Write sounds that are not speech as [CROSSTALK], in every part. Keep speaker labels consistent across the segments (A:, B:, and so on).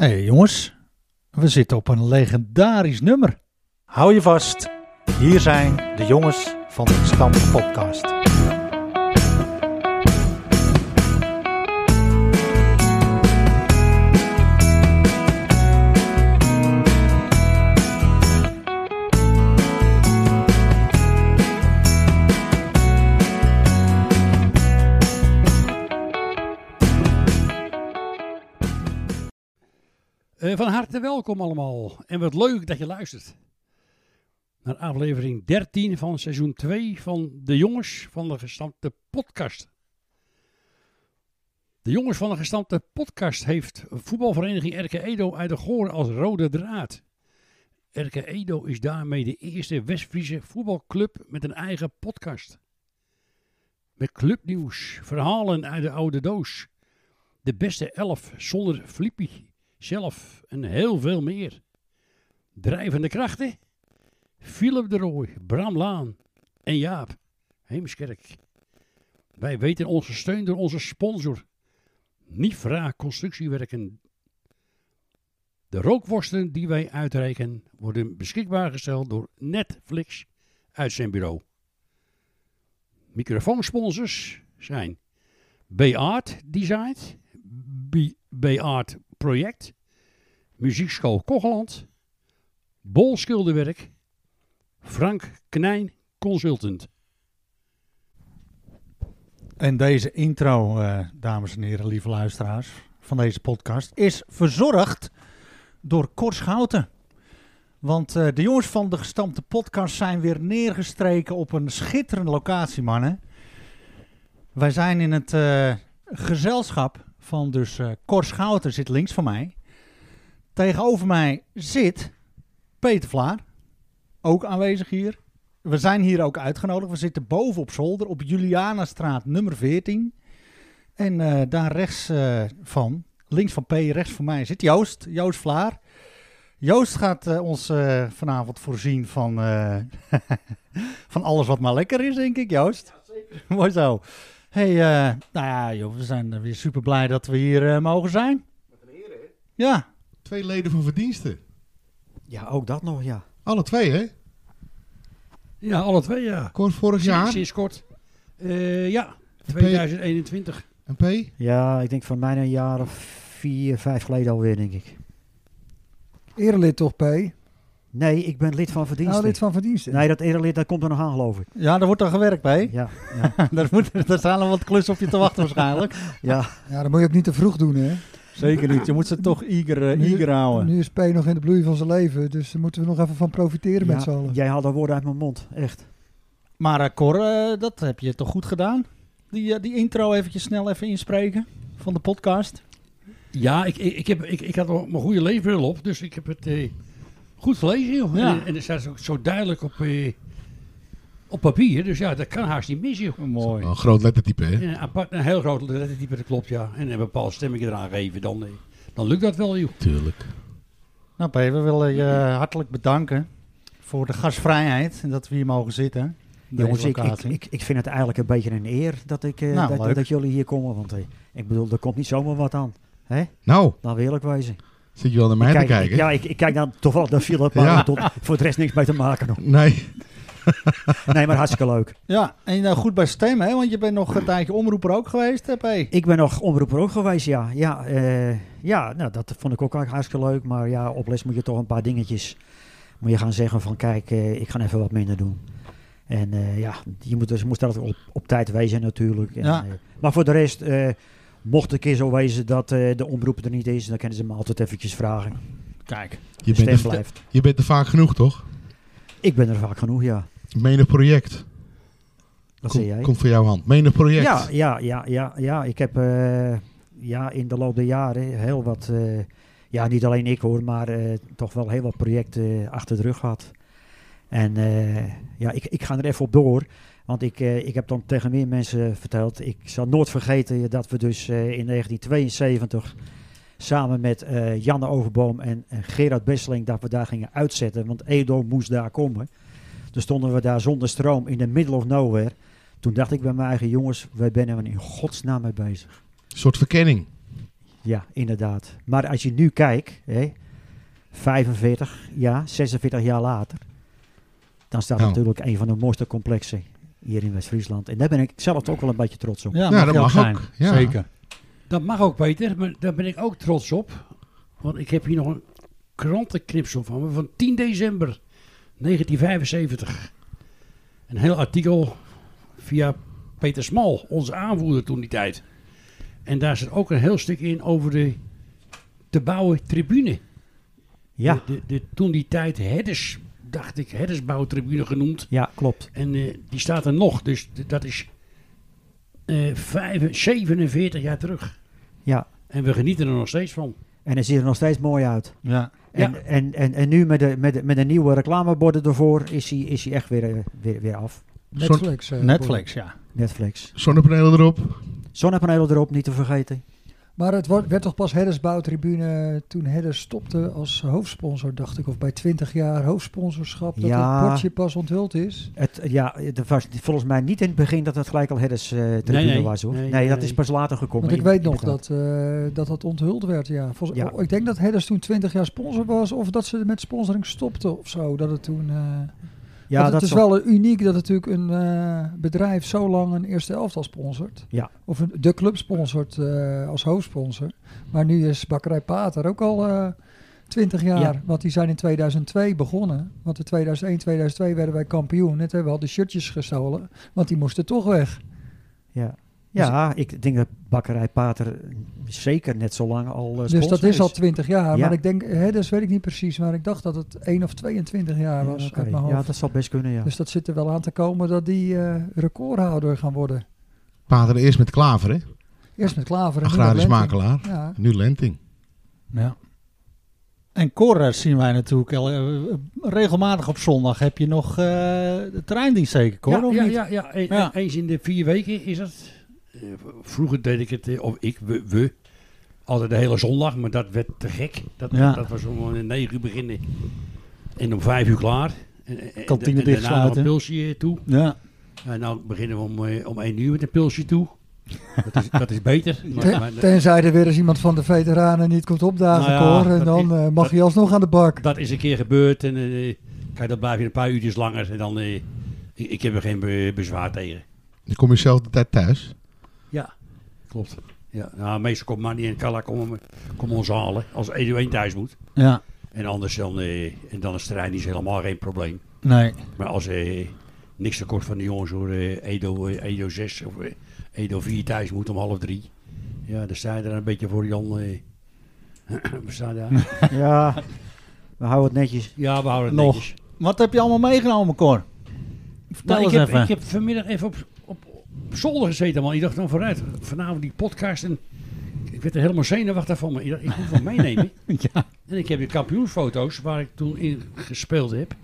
A: Hé hey jongens, we zitten op een legendarisch nummer.
B: Hou je vast. Hier zijn de jongens van de Stam Podcast.
C: Eh, van harte welkom allemaal. En wat leuk dat je luistert. Naar aflevering 13 van seizoen 2 van De Jongens van de Gestampte Podcast. De Jongens van de Gestampte Podcast heeft voetbalvereniging RK Edo uit de Goor als rode draad. RK Edo is daarmee de eerste Westfriese voetbalclub met een eigen podcast. Met clubnieuws, verhalen uit de oude doos, de beste elf zonder Flippie zelf en heel veel meer. Drijvende krachten? Philip de Rooij, Bram Laan en Jaap Heemskerk. Wij weten onze steun door onze sponsor. Nifra Constructiewerken. De rookworsten die wij uitreiken worden beschikbaar gesteld door Netflix uit zijn bureau. Microfoonsponsors zijn B-Art Design, B-Art Project, Muziekschool Kogeland, Bol Schilderwerk, Frank Knijn Consultant.
A: En deze intro, eh, dames en heren, lieve luisteraars van deze podcast, is verzorgd door Korschouten. Want eh, de jongens van de gestampte podcast zijn weer neergestreken op een schitterende locatie, mannen. Wij zijn in het eh, gezelschap van dus eh Korschouten zit links van mij. Tegenover mij zit Peter Vlaar, ook aanwezig hier. We zijn hier ook uitgenodigd. We zitten boven op zolder op Julianastraat nummer 14. En eh, daar rechts eh, van, links van P, rechts van mij zit Joost, Joost Vlaar. Joost gaat eh, ons eh, vanavond voorzien van, eh, [LAUGHS] van alles wat maar lekker is, denk ik, Joost. [LAUGHS] Mooi zo. hey, eh, nou ja, joh, we zijn eh, weer super blij dat we hier eh, mogen zijn. Wat een eer, hè? Ja,
D: Twee leden van verdiensten.
E: Ja, ook dat nog, ja.
D: Alle twee, hè?
C: Ja, alle twee ja.
D: Kort vorig jaar.
C: Sinds kort. Eh, ja, 2021.
D: En P?
E: Ja, ik denk van mij een jaar of vier, vijf geleden alweer, denk ik. Erelid toch, P? Nee, ik ben lid van verdiensten.
F: Nou, lid van verdiensten.
E: Nee, dat erelid, dat komt er nog aan, geloof ik.
A: ja, daar wordt dan gewerkt
E: [LAUGHS]
A: bij. [LAUGHS]
E: Ja, ja,
A: daar, moet, daar staan er wat klussen op je te wachten waarschijnlijk.
F: [LAUGHS]
E: ja.
F: Ja, dat moet je ook niet te vroeg doen, hè.
A: Zeker niet. Je moet ze toch eager, eh,
F: Nu-
A: eager houden.
F: Nu is P nog in de bloei van zijn leven, dus daar moeten we nog even van profiteren
E: Ja,
F: met z'n allen.
E: jij haalt dat woord uit mijn mond, echt.
A: Maar eh, Cor, eh, dat heb je toch goed gedaan? Die, eh, die intro eventjes snel even inspreken van de podcast.
C: Ja, ik, ik, ik, heb, ik, ik had nog mijn goede leefbril op, dus ik heb het eh, goed gelezen. Joh.
A: Ja.
C: En, en het staat ook zo duidelijk op, eh, op papier, dus ja, dat kan haast niet mis. Joh.
A: Oh, Mooi.
D: Wel een groot lettertype, hè?
C: En apart, een heel groot lettertype, dat klopt ja. En een bepaald stemming eraan geven, dan, eh, dan lukt dat wel joh.
D: Tuurlijk.
A: Nou, P, we willen je hartelijk bedanken voor de gastvrijheid en dat we hier mogen zitten. Deze
E: Jongens, ik, ik,
A: locatie.
E: ik, ik vind het eigenlijk een beetje een eer dat, ik, eh,
A: Nou,
E: dat,
A: leuk.
E: dat, dat jullie hier komen. Want eh, ik bedoel, er komt niet zomaar wat aan.
D: Nou,
E: Dan wil ik wezen.
D: zit je wel naar mij
E: kijk,
D: te kijken?
E: Ik, ja, ik, ik kijk dan toevallig naar Philip, maar
D: Ja.
E: tot, voor het rest niks mee te maken. nog.
D: Nee.
E: Nee, maar hartstikke leuk.
A: Ja, en je bent goed bij stem, hè? Want je bent nog een tijdje omroeper ook geweest, hè, P?
E: Ik ben nog omroeper ook geweest, ja. Ja, eh, ja nou, dat vond ik ook eigenlijk hartstikke leuk. Maar ja, op les moet je toch een paar dingetjes... Moet je gaan zeggen van, kijk, eh, ik ga even wat minder doen. En eh, ja, je moet, dus, moest dat op, op tijd wezen natuurlijk. En,
A: Ja.
E: eh, maar voor de rest, eh, mocht een keer zo wezen dat eh, de omroep er niet is... dan kunnen ze me altijd eventjes vragen.
A: Kijk.
D: Je
E: Stem
D: bent, er,
E: blijft.
D: je bent er vaak genoeg, toch?
E: Ik ben er vaak genoeg, ja.
D: Menig project.
E: Dat
D: Nou Kom-
E: zei jij.
D: Komt voor jouw hand. Menig project.
E: Ja, ja, ja, ja, ja. Ik heb eh, ja, in de loop der jaren heel wat, eh, ja, niet alleen ik hoor, maar eh, toch wel heel wat projecten achter de rug gehad. En eh, ja, ik, ik ga er even op door. Want ik, eh, ik heb dan tegen meer mensen verteld. Ik zal nooit vergeten dat we dus eh, in 1972 samen met eh, Janne Overboom en, en Gerard Besseling dat we daar gingen uitzetten. Want Edo moest daar komen. Dus stonden we daar zonder stroom in de middle of nowhere. Toen dacht ik bij mijn eigen jongens, wij zijn er in godsnaam mee bezig.
D: Een soort verkenning.
E: Ja, inderdaad. Maar als je nu kijkt, hè, 45 jaar, 46 jaar later, dan staat
D: Nou.
E: natuurlijk een van de mooiste complexen hier in West-Friesland. En daar ben ik zelf ook wel een beetje trots op.
A: Ja,
D: Ja,
A: dat
D: dat
A: mag
D: mag
A: je zijn.
D: ook, ja.
A: Zeker.
C: Dat mag ook, Peter, maar daar ben ik ook trots op. Want ik heb hier nog een krantenknipsel van me van 10 december 1975. Een heel artikel via Peter Smal, onze aanvoerder toen die tijd. En daar zit ook een heel stuk in over de te bouwen tribune.
E: Ja,
C: De, de, de toen die tijd herders, dacht ik, herdersbouwtribune genoemd.
E: ja klopt.
C: En eh, die staat er nog, dus d- dat is eh, vijf- 47 jaar terug.
E: Ja.
C: En we genieten er nog steeds van.
E: En het ziet er nog steeds mooi uit.
A: Ja.
E: En,
C: Ja.
E: en, en, en nu met de, met, de, met de nieuwe reclameborden ervoor is hij is hij echt weer, eh, weer, weer af.
F: Netflix. eh,
A: Netflix, ja.
E: Netflix.
D: Zonnepanelen erop.
E: Zonnepanelen erop, niet te vergeten.
F: Maar het wordt- werd toch pas Herdersbouwtribune toen Herders stopte als hoofdsponsor, dacht ik. Of bij 20 jaar hoofdsponsorschap, dat
E: Ja.
F: het bordje pas onthuld is.
E: Het, ja, het was volgens mij niet in het begin dat het gelijk al herders eh tribune
C: nee.
E: was hoor.
C: Nee,
E: Nee,
C: nee,
E: dat
C: nee.
E: is pas later gekomen.
F: Want ik
E: in-
F: weet nog
E: inderdaad.
F: dat, eh, dat dat onthuld werd, ja. Volgens,
E: Ja.
F: oh, ik denk dat Herders toen 20 jaar sponsor was of dat ze met sponsoring stopte of zo. Dat het toen... eh,
E: Ja,
F: Want
E: dat
F: het
E: is
F: is wel een- uniek dat natuurlijk een eh, bedrijf zo lang een eerste elftal sponsort.
E: Ja.
F: Of een, de club sponsort eh, als hoofdsponsor. Maar nu is Bakkerij Pater ook al eh 20 jaar.
E: Ja.
F: Want die zijn in 2002 begonnen. Want in 2001, 2002 werden wij kampioen. Het hebben we al de shirtjes gestolen. Want die moesten toch weg.
E: Ja.
F: Dus-
E: Ja, ik denk dat bakkerij Pater eh, zeker net zo lang al eh,
F: Dus
E: sponsor
F: dat is al 20
E: Ja.
F: jaar. Maar ik denk, hè, dus weet ik niet precies. Maar ik dacht dat het 1 of 22 jaar was
E: Ja, oké.
F: uit mijn hoofd.
E: Ja, dat zal best kunnen, ja.
F: Dus dat zit er wel aan te komen dat die eh, recordhouder gaan worden.
D: Pater eerst met klaver, hè?
F: Eerst met Klaver en nu met
D: Agrarisch
F: Lenting.
D: makelaar.
F: Ja.
D: Nu lenting.
A: Ja. En Corras zien wij natuurlijk al, eh, regelmatig op zondag. Heb je nog eh, de treindienst zeker, Cor?
C: ja,
A: of
C: ja,
A: niet?
C: ja, ja. E-
A: Ja.
C: Eens in de vier weken is dat. Eh, v- Vroeger deed ik het, eh, of ik, we, we, altijd de hele zondag, maar dat werd te gek. Dat,
A: Ja.
C: dat was om eh, negen uur beginnen en om vijf uur klaar. En- eh, en- en-
A: Kantine
C: en daarna nog
A: dichtsluiten.
C: een pilsje eh, toe.
A: Ja.
C: En nou beginnen we om, eh, om één uur met een pilsje toe. Dat is, dat is
A: [LAUGHS]
C: beter. Maar-
F: Ten-
C: maar-
F: tenzij er weer eens iemand van de veteranen niet komt opdagen,
C: Nou ja,
F: hoor. En
C: dat
F: dan
C: is-
F: eh, mag
C: dat-
F: je alsnog aan de bak.
C: Dat is een keer gebeurd en eh, kijk, dan blijf je een paar uurtjes langer en dan... eh, ik, ik heb er geen be- bezwaar tegen.
D: Dan kom je zelf de tijd thuis.
C: Ja, klopt. Ja, nou, meestal komt Manny en Kalla komen, komen ons halen als Edo 1 thuis moet.
A: Ja.
C: En anders dan, eh, en dan is terrein is helemaal geen probleem.
A: Nee.
C: Maar als eh, niks tekort van de jongens hoor, eh, Edo, eh, Edo 6 of eh, Edo 4 thuis moet om half drie. Ja, dan sta je daar een beetje voor Jan. eh [CLEARS THROAT] we staan daar.
E: Ja, we houden het netjes.
C: Ja, we houden het
A: Nog.
C: netjes.
A: Wat heb je allemaal meegenomen, Cor? Vertel
C: Nou, ik,
A: eens
C: heb,
A: even.
C: ik heb vanmiddag even op, op, op zolder gezeten, man. Ik dacht, nou vooruit, vanavond die podcast. En ik werd er helemaal zenuwachtig van. Maar ik dacht, ik moet wat meenemen.
A: [LAUGHS] Ja.
C: En ik heb de kampioensfoto's waar ik toen in gespeeld heb.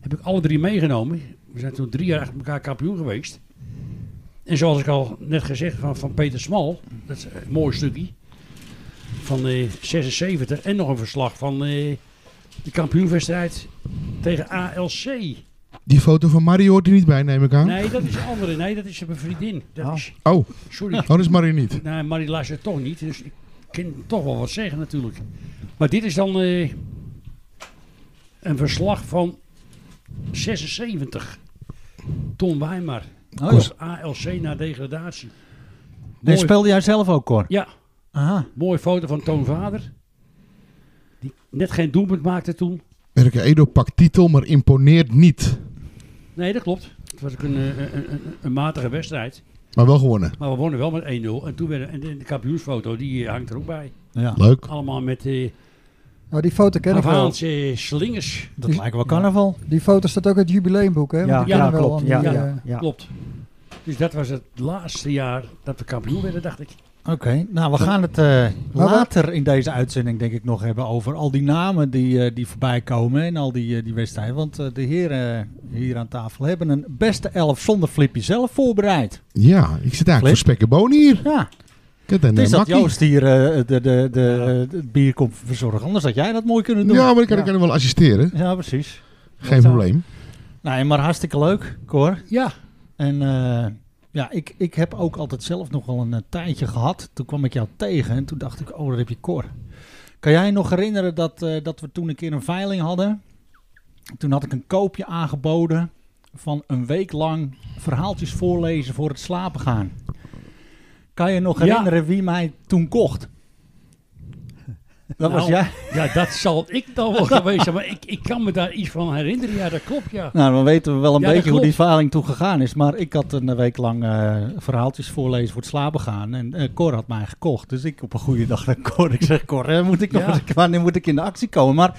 C: Heb ik alle drie meegenomen. We zijn toen drie jaar achter elkaar kampioen geweest. En zoals ik al net gezegd van, van Peter Smal. Dat is een mooi stukje. Van eh 76. En nog een verslag van eh, de kampioenwedstrijd tegen ALC.
D: Die foto van Mario hoort er niet bij, neem ik aan.
C: Nee, dat is een andere. Nee, dat is mijn vriendin. Dat
E: Oh.
C: is,
D: Oh, oh,
C: sorry. [LAUGHS]
D: dat is Mario niet.
C: Nee, maar die luistert toch niet. Dus ik kan toch wel wat zeggen natuurlijk. Maar dit is dan eh, een verslag van 76. Ton Weimar.
A: Oh,
C: Als ALC na degradatie.
A: Nee,
C: Mooi,
A: speelde jij zelf ook, Cor?
C: ja,
A: Aha.
C: mooie foto van Toon Vader. Die net geen doelpunt maakte toen.
D: Erke Edo pakt titel, maar imponeert niet.
C: Nee, dat klopt. Het was ook een, eh, een, een, een matige wedstrijd.
D: Maar wel gewonnen.
C: Maar we wonnen wel met 1-0. En toen werden, en de- de kampioensfoto die eh, hangt er ook bij.
A: Ja.
D: Leuk.
C: Allemaal met eh
F: Nou, die foto ken ik wel.
C: Havaanse slingers.
A: Dat lijkt wel carnaval.
F: Die foto staat ook in het jubileumboek, hè?
E: Ja,
F: Want
E: ja,
F: die kennen we wel
E: klopt.
F: aan
E: Ja,
F: die,
E: ja,
F: eh,
E: ja.
C: Klopt. Dus dat was het laatste jaar dat we kampioen werden, dacht ik.
A: Oké, nou we gaan het eh,
F: we-
A: later in deze uitzending denk ik nog hebben over al die namen die, eh, die voorbij komen en al die, eh, die wedstrijden. Want eh, de heren eh, hier aan tafel hebben een beste elf zonder Flippy zelf voorbereid.
D: Ja, ik zit eigenlijk voor spek en bonen hier.
A: Ja,
D: Ik heb een,
A: het is
D: eh,
A: dat
D: makkie.
A: Joost hier eh, de, de, de, het bier komt verzorgen. Anders had jij dat mooi kunnen doen.
D: Ja, maar ik kan,
A: ja.
D: ik kan hem wel assisteren.
A: Ja, precies.
D: Geen
A: zo.
D: probleem.
A: Nee, maar hartstikke leuk, Cor.
C: Ja,
A: En eh, Ja, ik, ik heb ook altijd zelf nog wel een eh, tijdje gehad. Toen kwam ik jou tegen en toen dacht ik, oh, daar heb je Cor. Kan jij nog herinneren dat, eh, dat we toen een keer een veiling hadden? Toen had ik een koopje aangeboden van een week lang verhaaltjes voorlezen voor het slapen gaan. Kan je nog
C: Ja.
A: herinneren wie mij toen kocht? Dat was
C: Nou.
A: jij.
C: Ja, dat zal ik dan
A: [LAUGHS]
C: wel geweest zijn. Maar ik, ik kan me daar iets van herinneren. Ja, dat klopt, ja.
A: Nou, dan weten we wel een
C: Ja, dat
A: beetje hoe die
C: klopt.
A: verhaling toen gegaan is. Maar ik had een week lang eh, verhaaltjes voorlezen voor het slapen gaan. En eh, Cor had mij gekocht. Dus ik op een goede dag naar Cor. Ik zeg, Cor, eh, moet ik nog
C: Ja.
A: eens- wanneer moet ik in de actie komen? Maar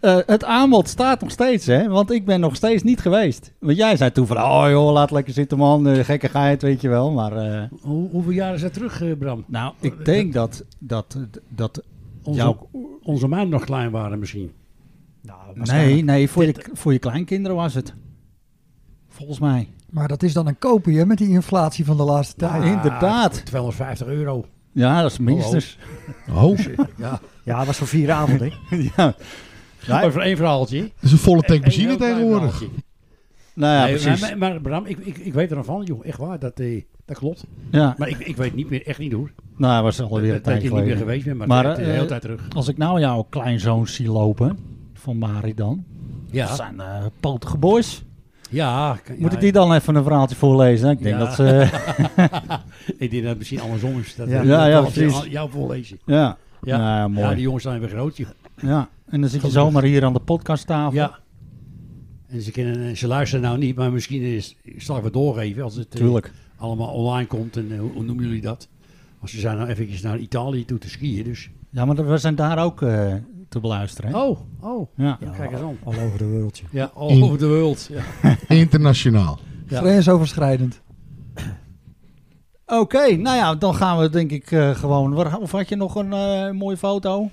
A: eh, het aanbod staat nog steeds, hè? Want ik ben nog steeds niet geweest. Want jij zei toen van, oh joh, laat lekker zitten man. eh, gekkigheid, weet je wel. Maar eh,
C: Hoe, hoeveel jaar is dat terug, eh, Bram?
A: nou, ik denk dat, dat, dat
C: Onze,
A: Jouw-
C: onze maan nog klein waren misschien.
E: Nou,
A: nee, nee, voor je, voor je kleinkinderen was het. Volgens mij.
F: Maar dat is dan een kopie hè, met die inflatie van de laatste
C: Ah.
F: tijd.
A: Inderdaad.
C: 250 euro.
A: Ja, dat is
C: oh.
A: minstens.
D: Oh,
C: Ja.
E: Ja, dat was voor vier
C: [LAUGHS]
E: avonden.
A: Ja. Nou,
C: Maar voor één verhaaltje.
D: dat is een volle tank
C: Eén
D: benzine
C: heel klein
D: tegenwoordig.
C: verhaaltje.
A: Nou ja,
C: Nee,
A: precies.
C: Maar, maar Bram, ik, ik, ik weet er nog van, joh. Echt waar, dat, eh, dat klopt.
A: ja,
C: Maar ik, ik weet niet meer, echt niet hoor.
A: nou, hij was er alweer een
C: dat, dat
A: tijd
C: je niet meer
A: geleden.
C: geweest bent, maar,
A: Maar,
C: het is de
A: eh,
C: hele tijd terug.
A: Als ik nou jouw kleinzoon zie lopen, van Mari dan, dat
C: Ja,
A: zijn eh, potige boys.
C: ja. kan-
A: Moet
C: ja,
A: ik die dan even een verhaaltje voorlezen? hè? Ik denk
C: Ja.
A: dat
C: [LAUGHS]
A: ze... eh,
C: Ik denk dat het misschien andersom is. Dat,
E: Ja,
C: dat-
A: ja,
C: dat je
A: precies.
C: al- Jou voorlezen.
A: ja,
C: Ja.
A: Nou ja,
C: Ja,
A: mooi.
C: die jongens zijn weer groot. joh.
A: Ja, en dan zit je zomaar hier aan de podcasttafel.
C: Ja. En ze, kennen, en ze luisteren nou niet, maar misschien is, zal ik wat doorgeven als het eh,
A: Tuurlijk.
C: allemaal online komt. En eh, hoe, hoe noemen jullie dat? Als ze zijn nou eventjes naar Italië toe te skiën. Dus.
A: Ja, maar we zijn daar ook eh, te beluisteren. hè?
C: Oh, oh.
A: Ja.
E: Ja,
C: Kijk eens aan.
E: Al over de wereldje.
C: Ja, all over the world. Ja.
D: Internationaal.
C: Ja.
F: Grensoverschrijdend.
A: Oké, nou ja, dan gaan we denk ik eh, gewoon... waar- Of had je nog een eh, mooie foto?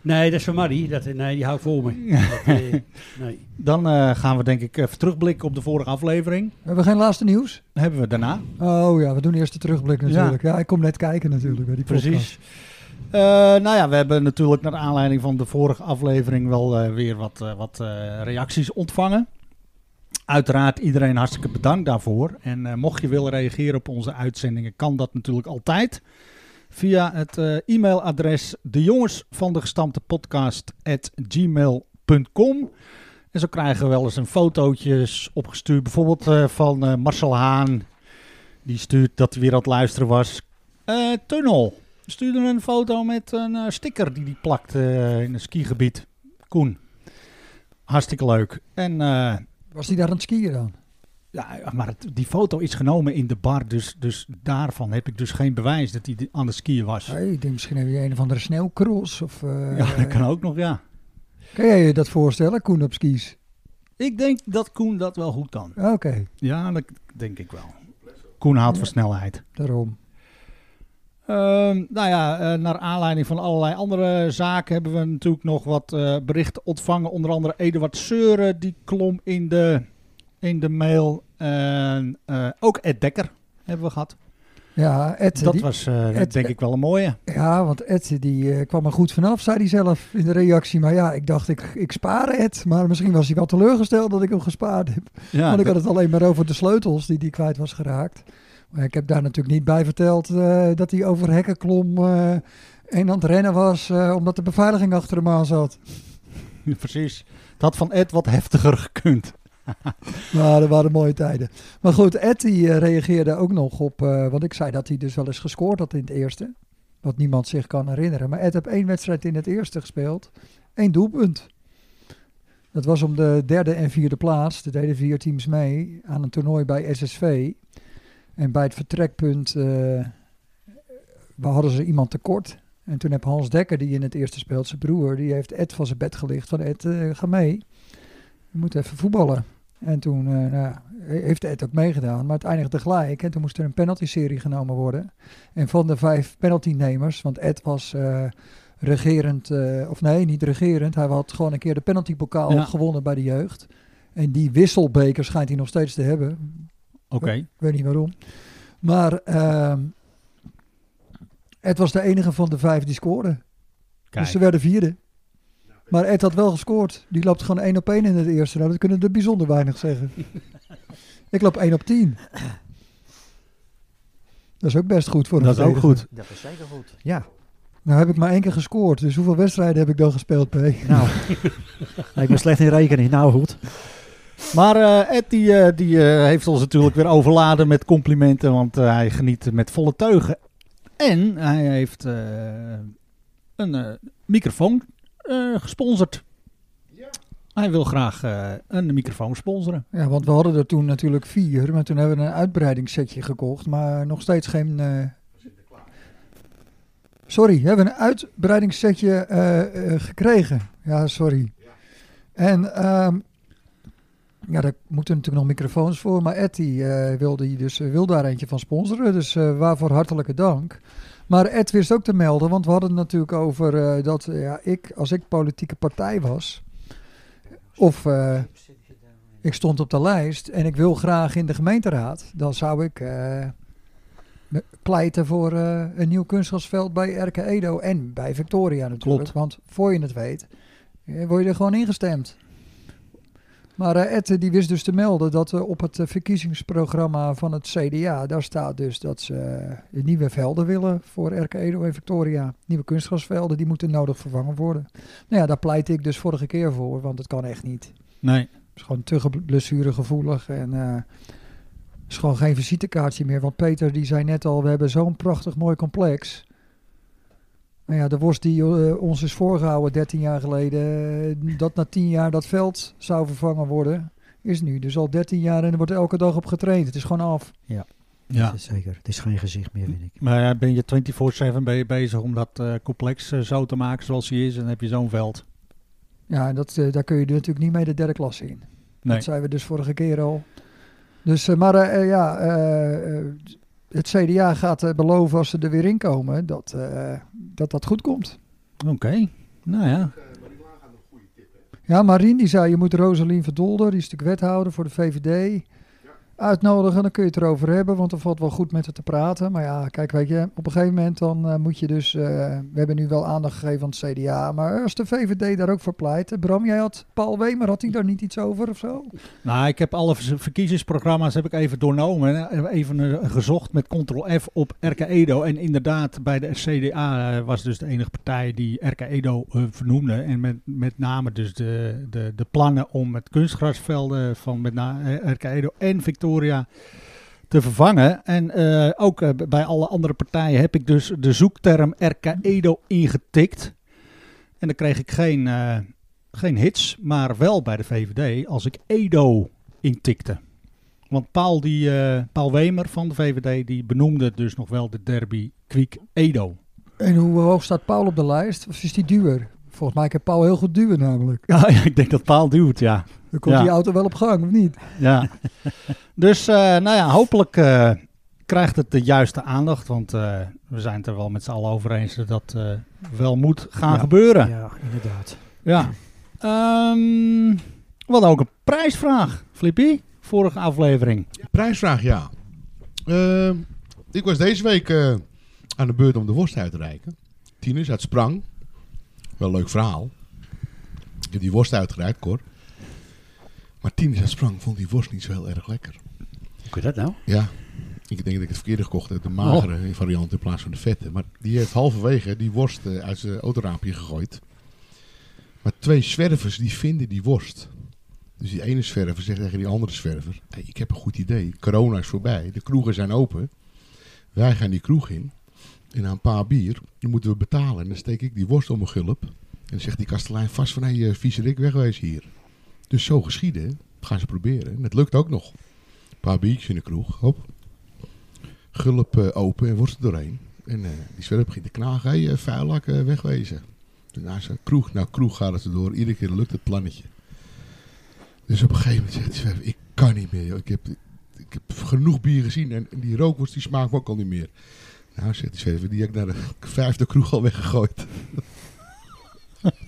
C: Nee, dat is van Marie. Dat, eh, nee, die houdt voor me. Dat, eh, nee.
A: Dan eh, gaan we denk ik even terugblikken op de vorige aflevering.
F: We hebben geen laatste nieuws.
A: Hebben we daarna.
F: Oh ja, we doen eerst de terugblik natuurlijk. Ja, ik kom net kijken natuurlijk bij die podcast.
A: Precies. Eh, nou ja, we hebben natuurlijk naar aanleiding van de vorige aflevering wel eh, weer wat, eh, wat eh, reacties ontvangen. Uiteraard iedereen hartstikke bedankt daarvoor. En eh, mocht je willen reageren op onze uitzendingen, kan dat natuurlijk altijd. Via het eh, e-mailadres de jongens van de gestampte podcast gmail.com. En zo krijgen we wel eens een fotootjes opgestuurd. Bijvoorbeeld eh, van eh, Marcel Haan. Die stuurt dat hij weer aan het luisteren was. Eh, tunnel. Stuurde een foto met een eh, sticker die die plakt eh, in een skigebied. Koen. Hartstikke leuk. En eh,
F: Was die daar aan het skiën dan?
A: ja, maar het- die foto is genomen in de bar. Dus, dus daarvan heb ik dus geen bewijs dat hij di- aan het skiën was.
F: Hey, ik denk misschien heb je een of andere sneeuwcross. Of, eh,
A: ja, dat kan ook nog, ja.
F: Kan jij je dat voorstellen, Koen op skis?
A: Ik denk dat Koen dat wel goed kan.
F: Oké,
A: Ja, dat denk ik wel. Koen haalt voor snelheid.
F: daarom.
A: Ehm, nou ja, eh, naar aanleiding van allerlei andere zaken hebben we natuurlijk nog wat eh, berichten ontvangen. Onder andere Eduard Seuren, die klom in de, in de mail. En eh, ook Ed Dekker hebben we gehad.
F: Ja, Ed,
A: Dat
F: die-
A: was eh,
F: Ed-
A: denk ik wel een mooie.
F: ja want Ed die, eh, kwam er goed vanaf, zei hij zelf in de reactie. Maar ja, ik dacht, ik, ik spaar Ed. Maar misschien was hij wel teleurgesteld dat ik hem gespaard heb.
A: Ja,
F: Want ik
A: dat-
F: had het alleen maar over de sleutels die die kwijt was geraakt. Maar ik heb daar natuurlijk niet bij verteld eh, dat hij over hekken klom eh, en aan het rennen was eh, omdat de beveiliging achter hem aan zat.
A: [LAUGHS] precies. Het had van Ed wat heftiger gekund.
F: Maar Nou, dat waren mooie tijden. Maar goed, Ed die eh, reageerde ook nog op, eh, want ik zei dat hij dus wel eens gescoord had in het eerste. Wat niemand zich kan herinneren. Maar Ed heeft één wedstrijd in het eerste gespeeld. één doelpunt. Dat was om de derde en vierde plaats. De deden vier teams mee aan een toernooi bij SSV. En bij het vertrekpunt eh, waar hadden ze iemand tekort. En toen heb Hans Dekker, die in het eerste speelt, zijn broer, die heeft Ed van zijn bed gelicht. Van Ed, eh, ga mee. We moeten even voetballen. En toen eh, nou, ja, he- heeft Ed ook meegedaan, maar het eindigde gelijk. En toen moest er een penalty-serie genomen worden. En van de vijf penalty-nemers, want Ed was eh, regerend, eh, of nee, niet regerend. Hij had gewoon een keer de penaltybokaal
A: Ja.
F: gewonnen bij de jeugd. En die wisselbeker schijnt hij nog steeds te hebben.
A: Oké.
F: Ik weet niet waarom. Maar ehm, Ed was de enige van de vijf die scoorde. Dus ze
A: Kijk.
F: werden vierde. Maar Ed had wel gescoord. Die loopt gewoon
A: [LAUGHS]
F: 1 op 1 in het eerste. Nou, dat kunnen er bijzonder weinig zeggen. ik loop 1 op 10. Dat is ook best goed voor een
A: Dat is ook
F: verdediger.
A: goed.
E: Dat is zeker goed. Ja,
F: Nou heb ik maar één keer gescoord, dus hoeveel wedstrijden heb ik dan gespeeld, P? [LAUGHS]
E: nou. ik ben slecht in rekening. Nou goed.
A: Maar eh, Ed die, eh, die, eh, heeft ons natuurlijk weer overladen met complimenten, want eh, hij geniet met volle teugen. En hij heeft eh, een eh, microfoon eh, gesponsord. Hij wil graag eh, een microfoon sponsoren.
F: Ja, want we hadden er toen natuurlijk vier, maar toen hebben we een uitbreidingssetje gekocht, maar nog steeds geen... eh, Sorry, we hebben een uitbreidingssetje eh, eh, gekregen. Ja, sorry. En ehm, ja, daar moeten natuurlijk nog microfoons voor, maar Ed die, eh, wil, die dus, eh, wil daar eentje van sponsoren, dus eh, waarvoor hartelijke dank. Maar Ed wist ook te melden, want we hadden het natuurlijk over eh, dat eh, ja, ik, als ik politieke partij was, of... eh, ik stond op de lijst en ik wil graag in de gemeenteraad. Dan zou ik eh, me- pleiten voor eh, een nieuw kunstgrasveld bij Erke Edo en bij Victoria natuurlijk.
A: Klopt.
F: Want voor je het weet, eh, word je er gewoon ingestemd. Maar eh Ed eh, die wist dus te melden dat eh, op het eh, verkiezingsprogramma van het CDA, daar staat dus dat ze eh, nieuwe velden willen voor Erke Edo en Victoria. Nieuwe kunstgrasvelden, die moeten nodig vervangen worden. Nou ja, daar pleit ik dus vorige keer voor, want het kan echt niet.
A: Nee.
F: Is gewoon te ge- blessuregevoelig en eh is gewoon geen visitekaartje meer. Want Peter die zei net al, we hebben zo'n prachtig mooi complex. Nou ja, de worst die eh, ons is voorgehouden 13 jaar geleden, eh, dat na 10 jaar dat veld zou vervangen worden, is nu dus al 13 jaar en er wordt elke dag op getraind. Het is gewoon af.
A: Ja. Dus
E: Dat is zeker. Het is geen gezicht meer, vind ik.
A: Maar ja, ben je 24-7 ben je bezig om dat eh, complex eh, zo te maken zoals hij is en dan heb je zo'n veld.
F: Ja, en dat, eh, daar kun je natuurlijk niet mee de derde klasse in.
A: Nee.
F: Dat zeiden we dus vorige keer al. Dus, eh, maar eh, eh, ja, eh, eh, het CDA gaat eh, beloven als ze er weer in komen dat eh, dat, dat goed komt.
A: Oké. Nou ja.
F: Ja, Marien die zei, je moet Rosalien Verdolder, die is natuurlijk wethouder voor de VVD, uitnodigen. Dan kun je het erover hebben, want er valt wel goed met haar te praten. Maar ja, kijk, weet je, op een gegeven moment dan eh, moet je dus... eh, we hebben nu wel aandacht gegeven aan het CDA, maar als de VVD daar ook voor pleit... eh, Bram, jij had Paul Wemer, had hij daar niet iets over of zo?
A: Nou, ik heb alle ver- verkiezingsprogramma's heb ik even doornomen. en Even eh, gezocht met ctrl-f op RK Edo. En inderdaad, bij de CDA eh, was dus de enige partij die RK Edo eh, vernoemde. En met, met name dus de, de, de plannen om het kunstgrasvelden van met na, eh, RK Edo en Victoria te vervangen. En eh, ook eh, b- bij alle andere partijen heb ik dus de zoekterm RK Edo ingetikt. En dan kreeg ik geen... eh, geen hits, maar wel bij de VVD als ik Edo intikte. Want Paul, die, eh, Paul Wemer van de VVD die benoemde dus nog wel de derby Kwiek Edo.
F: En hoe hoog staat Paul op de lijst? Of is die duur? Volgens mij kan Paul heel goed duwen namelijk.
A: [LAUGHS] Ja, ik denk dat Paul duwt, ja.
F: Dan komt
A: Ja.
F: die auto wel op gang, of niet?
A: ja. dus eh, nou ja, hopelijk eh, krijgt het de juiste aandacht. Want eh, we zijn het er wel met z'n allen over eens dat dat eh, wel moet gaan
E: Ja.
A: gebeuren.
E: Ja, inderdaad.
A: Ja. Ehm, we hadden ook een prijsvraag, Flippy. Vorige aflevering.
D: Prijsvraag, ja. Eh, ik was deze week eh, aan de beurt om de worst uit te reiken. Tinus uit Sprang. Wel een leuk verhaal. Ik heb die worst uitgereikt, Cor. Maar Tinus uit Sprang vond die worst niet zo heel erg lekker.
C: Hoe kun je dat nou?
D: Ja, ik denk dat ik het verkeerde gekocht heb. De magere variant in plaats van de vette. Maar die heeft halverwege die worst eh, uit zijn autoraampje gegooid. Maar twee zwervers die vinden die worst. Dus die ene zwerver zegt tegen die andere zwerver... "Hey, ik heb een goed idee. Corona is voorbij. De kroegen zijn open. Wij gaan die kroeg in. En na een paar bier die moeten we betalen. En dan steek ik die worst om mijn gulp. En dan zegt die kastelein vast van... Hé, hey, eh, viezerik, wegwezen hier. Dus zo geschieden. Dat gaan ze proberen. En het lukt ook nog. Een paar biertjes in de kroeg. Hop. Gulp eh, open en wordt er doorheen. En eh, die zwerp begint te knagen. Hé, hey, vuilak, eh, wegwezen. Daarna ze kroeg na kroeg gaat het erdoor. Iedere keer lukt het plannetje. Dus op een gegeven moment zegt die zwerp, ik kan niet meer. joh. Ik heb, ik heb genoeg bier gezien en die rookworst die smaakt me ook al niet meer. Nou, zegt die zwerver, die heb ik naar de vijfde kroeg al weggegooid. [LAUGHS]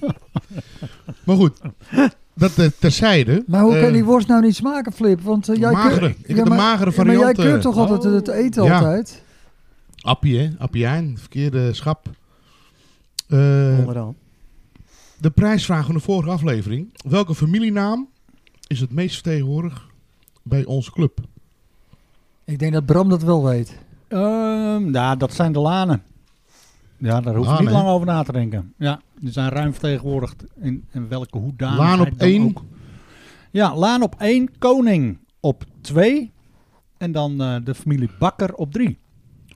D: maar goed, dat eh, terzijde.
F: Maar hoe
D: Eh,
F: kan die worst nou niet smaken, Flip? Want eh, jij
D: magere.
F: keur-
D: Ik heb de
F: maar-
D: magere
F: ja, maar jij
D: variant, eh. Oh.
F: keurt toch altijd het eten
D: Ja.
F: altijd?
D: Appie, hè? Appiaan, verkeerde schap. Eh,
E: Onderaan.
D: de prijsvraag van de vorige aflevering. Welke familienaam is het meest vertegenwoordigd bij onze club?
F: Ik denk dat Bram dat wel weet.
A: Ehm, nou, dat zijn de lanen. Ja, daar hoef je niet
D: Lanen,
A: lang
D: hè?
A: over na te denken. Ja, die zijn ruim vertegenwoordigd in, in welke hoedanigheid
D: Laan op
A: dan
D: 1.
A: ook. Ja, Laan op 1, Koning op 2 en dan eh, de familie Bakker op 3.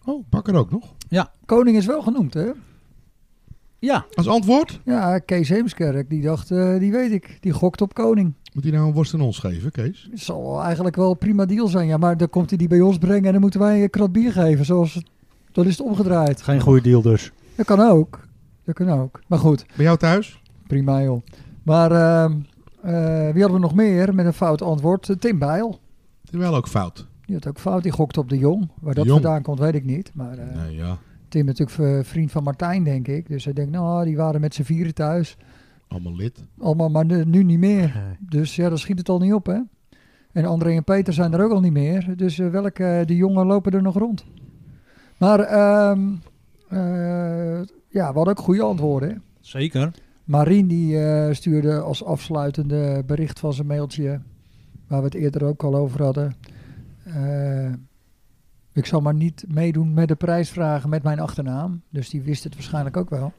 D: Oh, Bakker ook nog.
F: Koning is wel genoemd, hè?
A: Ja,
D: Als antwoord?
F: Ja, Kees Heemskerk, die dacht, eh, die weet ik. Die gokt op koning.
D: Moet hij nou een worst aan ons geven, Kees?
F: Het zal wel eigenlijk wel een prima deal zijn. Ja, maar dan komt hij die bij ons brengen en dan moeten wij een krat bier geven. Zoals, dan is het omgedraaid.
A: geen goede deal dus.
F: Dat kan ook. Dat kan ook. Maar goed,
D: Bij jou thuis?
F: prima joh. Maar ehm, eh, wie hadden we nog meer met een fout antwoord? Eh, Tim Bijl.
D: Het is wel ook fout.
F: Die had ook fout. Die gokt op de Jong. Waar
D: De
F: dat
D: Jong.
F: vandaan komt, weet ik niet. Maar eh,
D: Nee, ja.
F: Tim is natuurlijk v- vriend van Martijn, denk ik. Dus hij denkt, nou, die waren met z'n vieren thuis.
D: Allemaal lid.
F: Allemaal, maar nu, nu niet meer. Dus ja, dan schiet het al niet op, hè. En André en Peter zijn er ook al niet meer. Dus eh, welke eh, die jongen lopen er nog rond. Maar ehm, eh, ja, we hadden ook goede antwoorden, hè.
A: Zeker.
F: Marien die eh, stuurde als afsluitende bericht van zijn mailtje, waar we het eerder ook al over hadden. Eh, ik zal maar niet meedoen met de prijsvragen met mijn achternaam. Dus die wist het waarschijnlijk ook wel.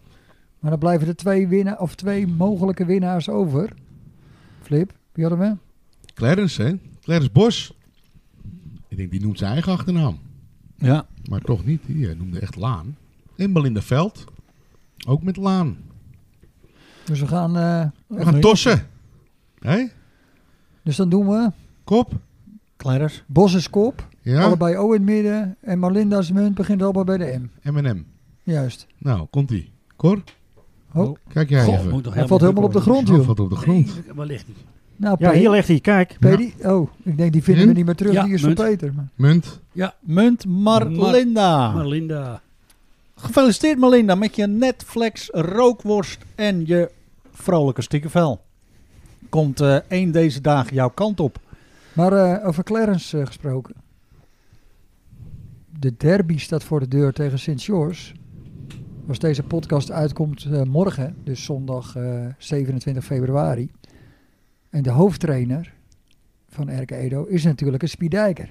F: Maar dan blijven er twee, winna of twee mogelijke winnaars over. Flip, wie hadden we?
D: Clarence, hè? Clarence Bos. Ik denk, die noemt zijn eigen achternaam.
A: Ja,
D: Maar toch niet. Die eh, noemde echt Laan. En Belinda Veld. Ook met Laan.
F: Dus we gaan. eh,
D: We gaan tossen. Hé?
F: dus dan doen we
D: Kop?
A: Clarence.
F: Bos is kop,
D: Ja?
F: allebei O in het midden. En Marlinda's munt begint allemaal bij de M.
D: M&M.
F: Juist.
D: Nou, komt-ie. Cor? Oh.
F: Hop.
D: Kijk jij even.
C: moet nog
F: Hij valt helemaal op de grond,
D: Oh,
F: joh.
D: valt op de grond.
C: Nee, wellicht niet.
F: Nou,
E: Ja,
F: Peter.
E: hier ligt hij, kijk.
F: P- die- Oh, ik denk die vinden we
D: Munt?
F: niet meer terug.
C: Hm? Ja,
F: die is van
C: munt.
F: Peter. maar-
D: Munt.
A: Munt Marlinda.
C: Maar Linda,
A: Gefeliciteerd Marlinda met je Netflix rookworst en je vrolijke stikkervel. Komt eh één deze dagen jouw kant op.
F: Maar eh, over Clarence eh, gesproken. De derby staat voor de deur tegen Sint George. Als deze podcast uitkomt eh, morgen, dus zondag eh, 27 februari. En de hoofdtrainer van RK Edo is natuurlijk een Spiedijker.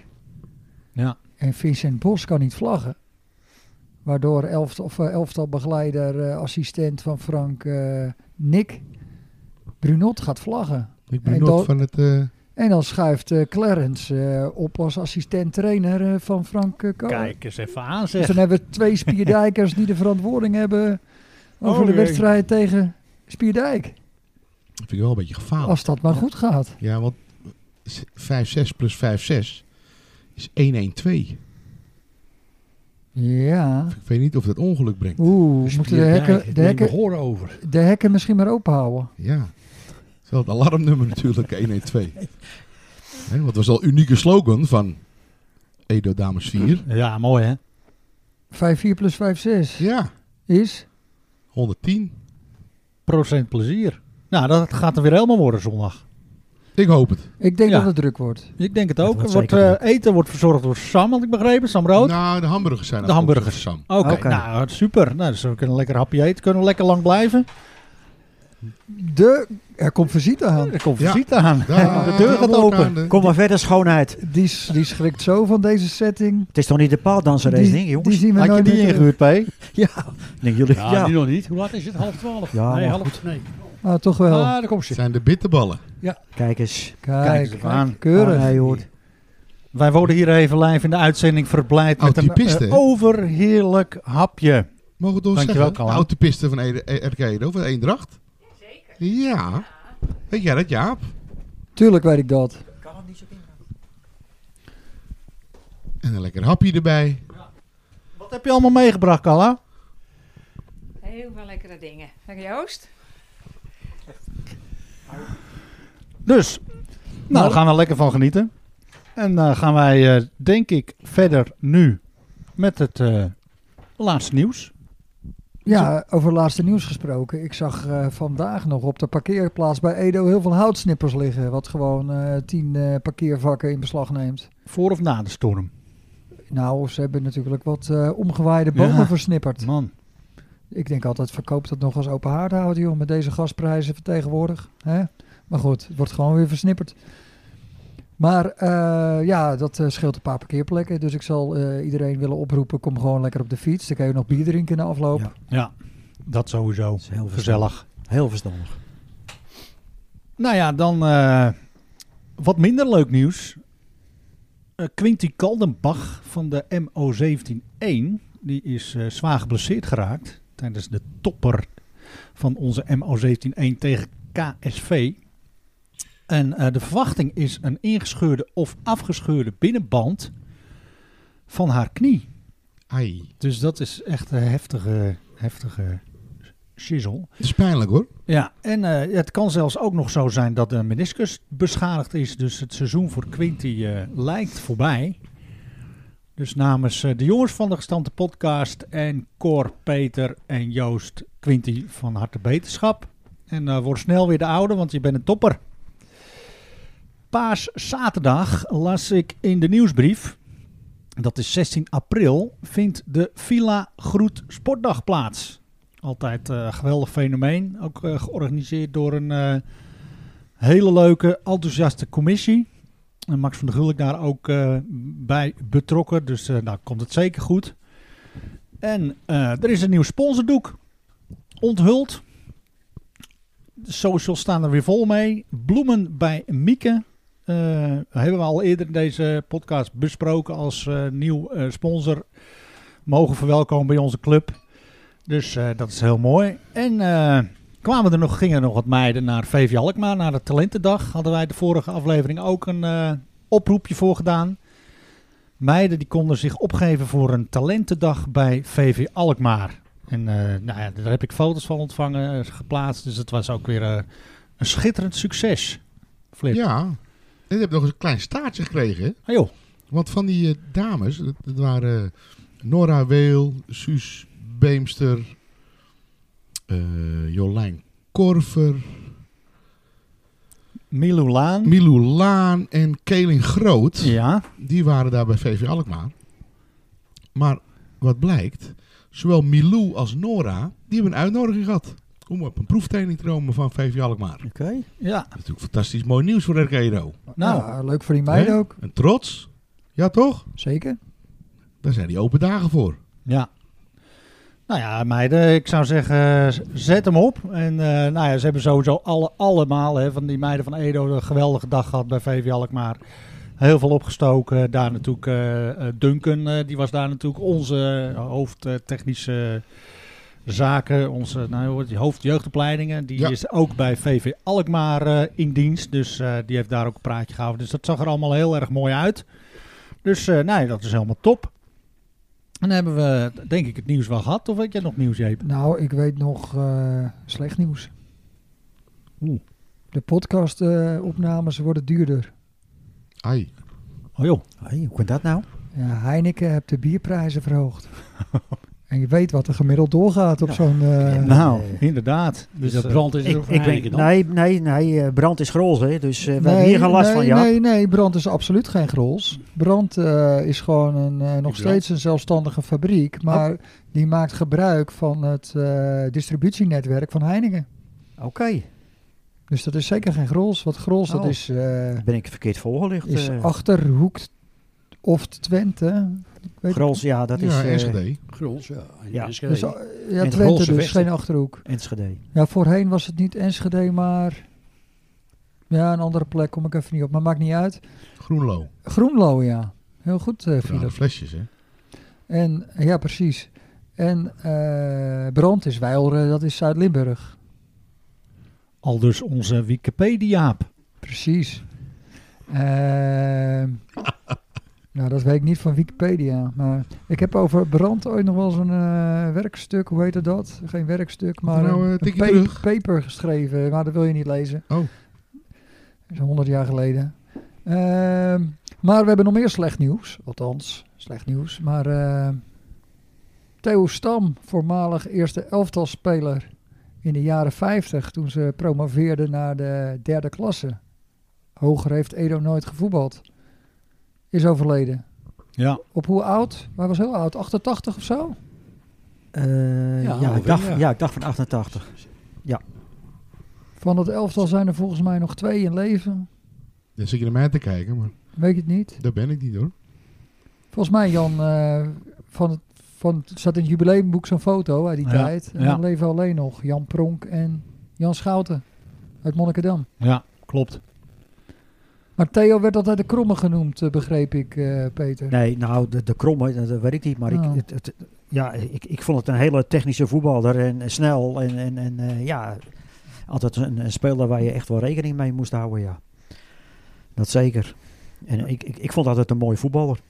A: Ja.
F: En Vincent Bos kan niet vlaggen. Waardoor elft, of, eh, elftal begeleider, eh, assistent van Frank, eh, Nick Brunot gaat vlaggen.
D: Ik
F: Hey,
D: ben nog
F: Dol-
D: van het... eh,
F: En dan schuift eh, Clarence eh, op als assistent-trainer eh, van Frank eh Kool.
A: Kijk eens even aan
F: Dus
A: zeg.
F: dan hebben we twee Spierdijkers die de verantwoording hebben over
A: Oh,
F: de
A: jee. Oh.
F: wedstrijd tegen Spierdijk.
D: vind ik wel een beetje gefaald.
F: Als dat maar goed gaat.
D: Ja, want 5-6 plus 5-6 is 1-1-2.
F: Ja.
D: Ik weet niet of dat ongeluk brengt.
F: Oeh, we moeten de
C: Spierdijk,
F: hekken, de,
C: neem de
F: hekken,
C: horen over.
F: de hekken misschien maar openhouden.
D: Ja. Dat is wel het alarmnummer [LAUGHS] natuurlijk, 112. Hè, want dat was al een unieke slogan van Edo Dames 4.
A: Ja, mooi hè.
F: 5-4 plus 5-6
D: Ja,
F: is...
D: 110.
A: Procent plezier. Nou, dat gaat er weer helemaal worden zondag.
D: Ik hoop het.
F: Ik denk
A: Ja.
F: dat het druk wordt.
A: Ik denk het ook.
E: wordt
A: wordt,
E: zeker
A: eh, eten wordt verzorgd door Sam, had ik begrepen. Sam Rood.
D: Nou, de hamburgers zijn
A: De
D: afkomstig
A: hamburgers.
D: van Sam.
A: Oké,
E: Oké.
A: nou super. Nou, dus we kunnen lekker hapje eten. Kunnen we lekker lang blijven.
F: De, er komt visite aan.
A: Er komt
D: Ja.
A: visite aan.
D: Daar
A: de deur gaat
D: wordt
A: open.
D: aan de-
E: Kom maar verder, schoonheid.
F: Die, s- die schrikt zo van deze setting.
E: Het is toch niet de paaldanseres,
F: Die,
E: ding, jongens?
F: die zien we
A: Had je
F: nooit
A: die
F: meer terug.
A: ingehuurd, P?
E: Ja, denk jullie.
C: Ja,
E: Ja,
C: nu nog niet. Hoe laat is het? Half twaalf?
E: Ja,
C: nee,
E: maar Dus,
C: half nee.
F: Ah, toch wel.
C: Ah, daar komt
D: Het
C: ze.
D: zijn de bitterballen.
E: kijk eens.
A: Kijk
F: Kijk,
A: eens aan. Ah,
F: keurig.
E: Oh, nee, hoor.
A: Wij worden hier even live in de uitzending verblijd
D: Oh,
A: met een
D: Oud-typiste,
A: eh,
D: hè?
A: overheerlijk hapje.
D: Mogen we het ons
A: Dankjewel,
D: zeggen?
A: Kalan.
D: De autopiste van Ede- eh, RK Edo, van Eendracht. Zeker. Ja. Weet jij dat, Jaap?
F: Tuurlijk weet ik dat.
D: En een lekker hapje erbij.
A: Wat heb je allemaal meegebracht, Kala?
G: Heel veel lekkere dingen. Dank Joost.
A: Dus, nou, daar gaan we lekker van genieten. En eh, gaan wij, eh, denk ik, verder nu met het eh, laatste nieuws.
F: Ja, over laatste nieuws gesproken. Ik zag eh, vandaag nog op de parkeerplaats bij Edo heel veel houtsnippers liggen. Wat gewoon eh, tien eh, parkeervakken in beslag neemt.
A: Voor of na de storm.
F: Nou, ze hebben natuurlijk wat eh, omgewaaide bomen
A: Ja.
F: versnipperd.
A: Man,
F: Ik denk altijd, verkoop dat nog als open haardhout, joh. Met deze gasprijzen vertegenwoordig. Hè? Maar goed, het wordt gewoon weer versnipperd. Maar eh, ja, dat eh, scheelt een paar parkeerplekken. Dus ik zal eh, iedereen willen oproepen, kom gewoon lekker op de fiets. Dan kan je nog bier drinken na afloop.
E: Ja.
A: Ja, dat sowieso.
E: is heel
A: Gezellig.
E: Heel verstandig.
A: Nou ja, dan eh, wat minder leuk nieuws. Eh Quinty Kaldenbach van de MO17-1, die is eh, zwaar geblesseerd geraakt tijdens de topper van onze MO17-1 tegen KSV. En eh, de verwachting is een ingescheurde of afgescheurde binnenband van haar knie.
D: Ai.
A: Dus dat is echt een heftige, heftige shizzle.
D: Het is pijnlijk hoor.
A: Ja, en eh, het kan zelfs ook nog zo zijn dat de meniscus beschadigd is. Dus het seizoen voor Quinty eh, lijkt voorbij. Dus namens eh, de jongens van de gestampte podcast en Cor, Peter en Joost, Quinty van harte beterschap. En eh, word snel weer de oude, want je bent een topper. Paas zaterdag las ik in de nieuwsbrief, dat is 16 april, vindt de Villa Groet Sportdag plaats. Altijd eh, een geweldig fenomeen. Ook eh, georganiseerd door een eh, hele leuke, enthousiaste commissie. En Max van der Gulik daar ook eh, bij betrokken. Dus eh nou komt het zeker goed. En eh, er is een nieuw sponsordoek. Onthuld. De socials staan er weer vol mee. Bloemen bij Mieke. eh, hebben we al eerder in deze podcast besproken als eh, nieuw eh, sponsor. Mogen verwelkomen bij onze club. Dus eh, dat is heel mooi. En eh, kwamen er nog, gingen er nog wat meiden naar VV Alkmaar, naar de Talentendag. Hadden wij de vorige aflevering ook een eh, oproepje voor gedaan. Meiden die konden zich opgeven voor een Talentendag bij VV Alkmaar. En eh, nou ja, daar heb ik foto's van ontvangen, eh, geplaatst. Dus het was ook weer eh, een schitterend succes. Flip.
D: Ja. En je hebt nog eens een klein staartje gekregen. hè?
A: Ah, joh.
D: Want van die eh, dames, dat, dat waren eh, Nora Weel, Suus Beemster, eh, Jolijn Korver,
A: Milou Laan.
D: Milou Laan en Keling Groot.
A: ja.
D: Die waren daar bij VV Alkmaar. Maar wat blijkt, zowel Milou als Nora, die hebben een uitnodiging gehad. Om op een proeftraining te komen van VV Alkmaar. Dat
E: Oké.
A: Ja.
D: is natuurlijk fantastisch mooi nieuws voor Arcado.
A: Nou.
F: Ja, leuk voor die meiden
D: Hè?
F: ook.
D: En trots. Ja toch?
F: Zeker.
D: Daar zijn die open dagen voor.
A: Ja. Nou ja, meiden, ik zou zeggen, z- zet hem op. En eh, nou ja, ze hebben sowieso alle, allemaal hè, van die meiden van Edo een geweldige dag gehad bij VV Alkmaar. Heel veel opgestoken. Daar natuurlijk eh, eh, Duncan, eh, die was daar natuurlijk onze eh, hoofdtechnische zaken, onze nou, hoe heet die hoofdjeugdopleidingen. Die
D: Ja.
A: is ook bij VV Alkmaar eh, in dienst. Dus eh, die heeft daar ook een praatje gehouden. Dus dat zag er allemaal heel erg mooi uit. Dus eh, nee, dat is helemaal top. En dan hebben we, denk ik, het nieuws wel gehad. Of weet jij nog nieuws, Jeep?
F: Nou, ik weet nog eh, slecht nieuws.
A: Oeh.
F: De podcastopnames worden duurder.
D: Ai.
A: Oh joh.
E: Hey, hoe kan dat nou?
F: Ja, Heineken hebt de
E: [LAUGHS]
F: bierprijzen verhoogd. en je weet wat er gemiddeld doorgaat op zo'n... eh,
E: Ja.
A: nou,
E: eh,
A: inderdaad.
C: Dus dat
A: eh,
C: brand is er ook voor Heineken dan?
E: nee, nee, nee, eh, brand is grols, hè. Dus eh, we hebben hier geen last
F: nee,
E: van, ja.
F: Nee, nee, brand is absoluut geen grols. Brand eh, is gewoon een, eh, nog steeds een zelfstandige
E: Oh.
F: fabriek. Maar die maakt gebruik van het eh, distributienetwerk van Heineken.
E: Oké,
F: Dus dat is zeker geen grols. Wat grols, dat
E: Oh.
F: is, eh,
E: ben ik verkeerd voorgelicht.
F: is
E: eh.
F: Achterhoek of Twente. weet-
E: Grols, ja, dat is
D: ja,
E: eh,
D: Enschede.
C: Grols, ja.
E: Ja. eh,
C: Enschede.
F: Dus, ah, ja,
E: het
F: Twente
E: Grolse
F: dus,
E: Westen.
F: geen Achterhoek.
E: Enschede.
F: Ja, voorheen was het niet Enschede, maar... Ja, een andere plek kom ik even niet op, maar maakt niet uit.
D: Groenlo.
F: Groenlo, ja. Heel goed, eh Philip.
D: Rare flesjes, hè?
F: En ja, precies. En eh, Brand is Weilre, dat is Zuid-Limburg.
A: Al dus onze Wikipedia-aap.
F: Precies. Ehm, [LAUGHS] nou, dat weet ik niet van Wikipedia. Maar ik heb over Brand ooit nog wel eens een eh, werkstuk, hoe heette dat? Geen werkstuk, maar
D: Nou, eh,
F: een,
D: tikkie
F: pa-
D: terug.
F: paper geschreven. Maar dat wil je niet lezen.
D: Oh.
F: Dat is honderd jaar geleden. Ehm, maar we hebben nog meer slecht nieuws. Althans, slecht nieuws. Maar eh, Theo Stam, voormalig eerste elftalspeler in de jaren 50, toen ze promoveerden naar de derde klasse. Hoger heeft Edo nooit gevoetbald. Is overleden.
A: Ja.
F: Op hoe oud? Hij was heel oud, 88 of zo?
E: Eh,
C: Ja,
E: ja,
C: alweer,
E: ik dacht,
C: ja.
E: ja. ik dacht van 88.
F: Van dat elftal zijn er volgens mij nog twee in leven.
D: Dan zit je naar mij te kijken, maar
F: Weet je het niet?
D: daar ben ik niet hoor.
F: Volgens mij, Jan, eh, van het, van, het zat in het jubileumboek zo'n foto uit die
A: Ja,
F: tijd. En
A: ja.
F: dan leven alleen nog Jan Pronk en Jan Schouten uit Monnikendam.
A: Ja, klopt.
F: Maar Theo werd altijd de kromme genoemd, eh, begreep ik, eh, Peter.
E: Nee, nou, de, de kromme, dat, dat weet ik niet. Maar
F: Oh.
E: ik, het, het- ja, ik, ik vond het een hele technische voetballer. En, en snel. En, en, en eh, ja, altijd een, een speler waar je echt wel rekening mee moest houden, ja. Dat zeker. En ik, ik, ik vond altijd een mooie voetballer.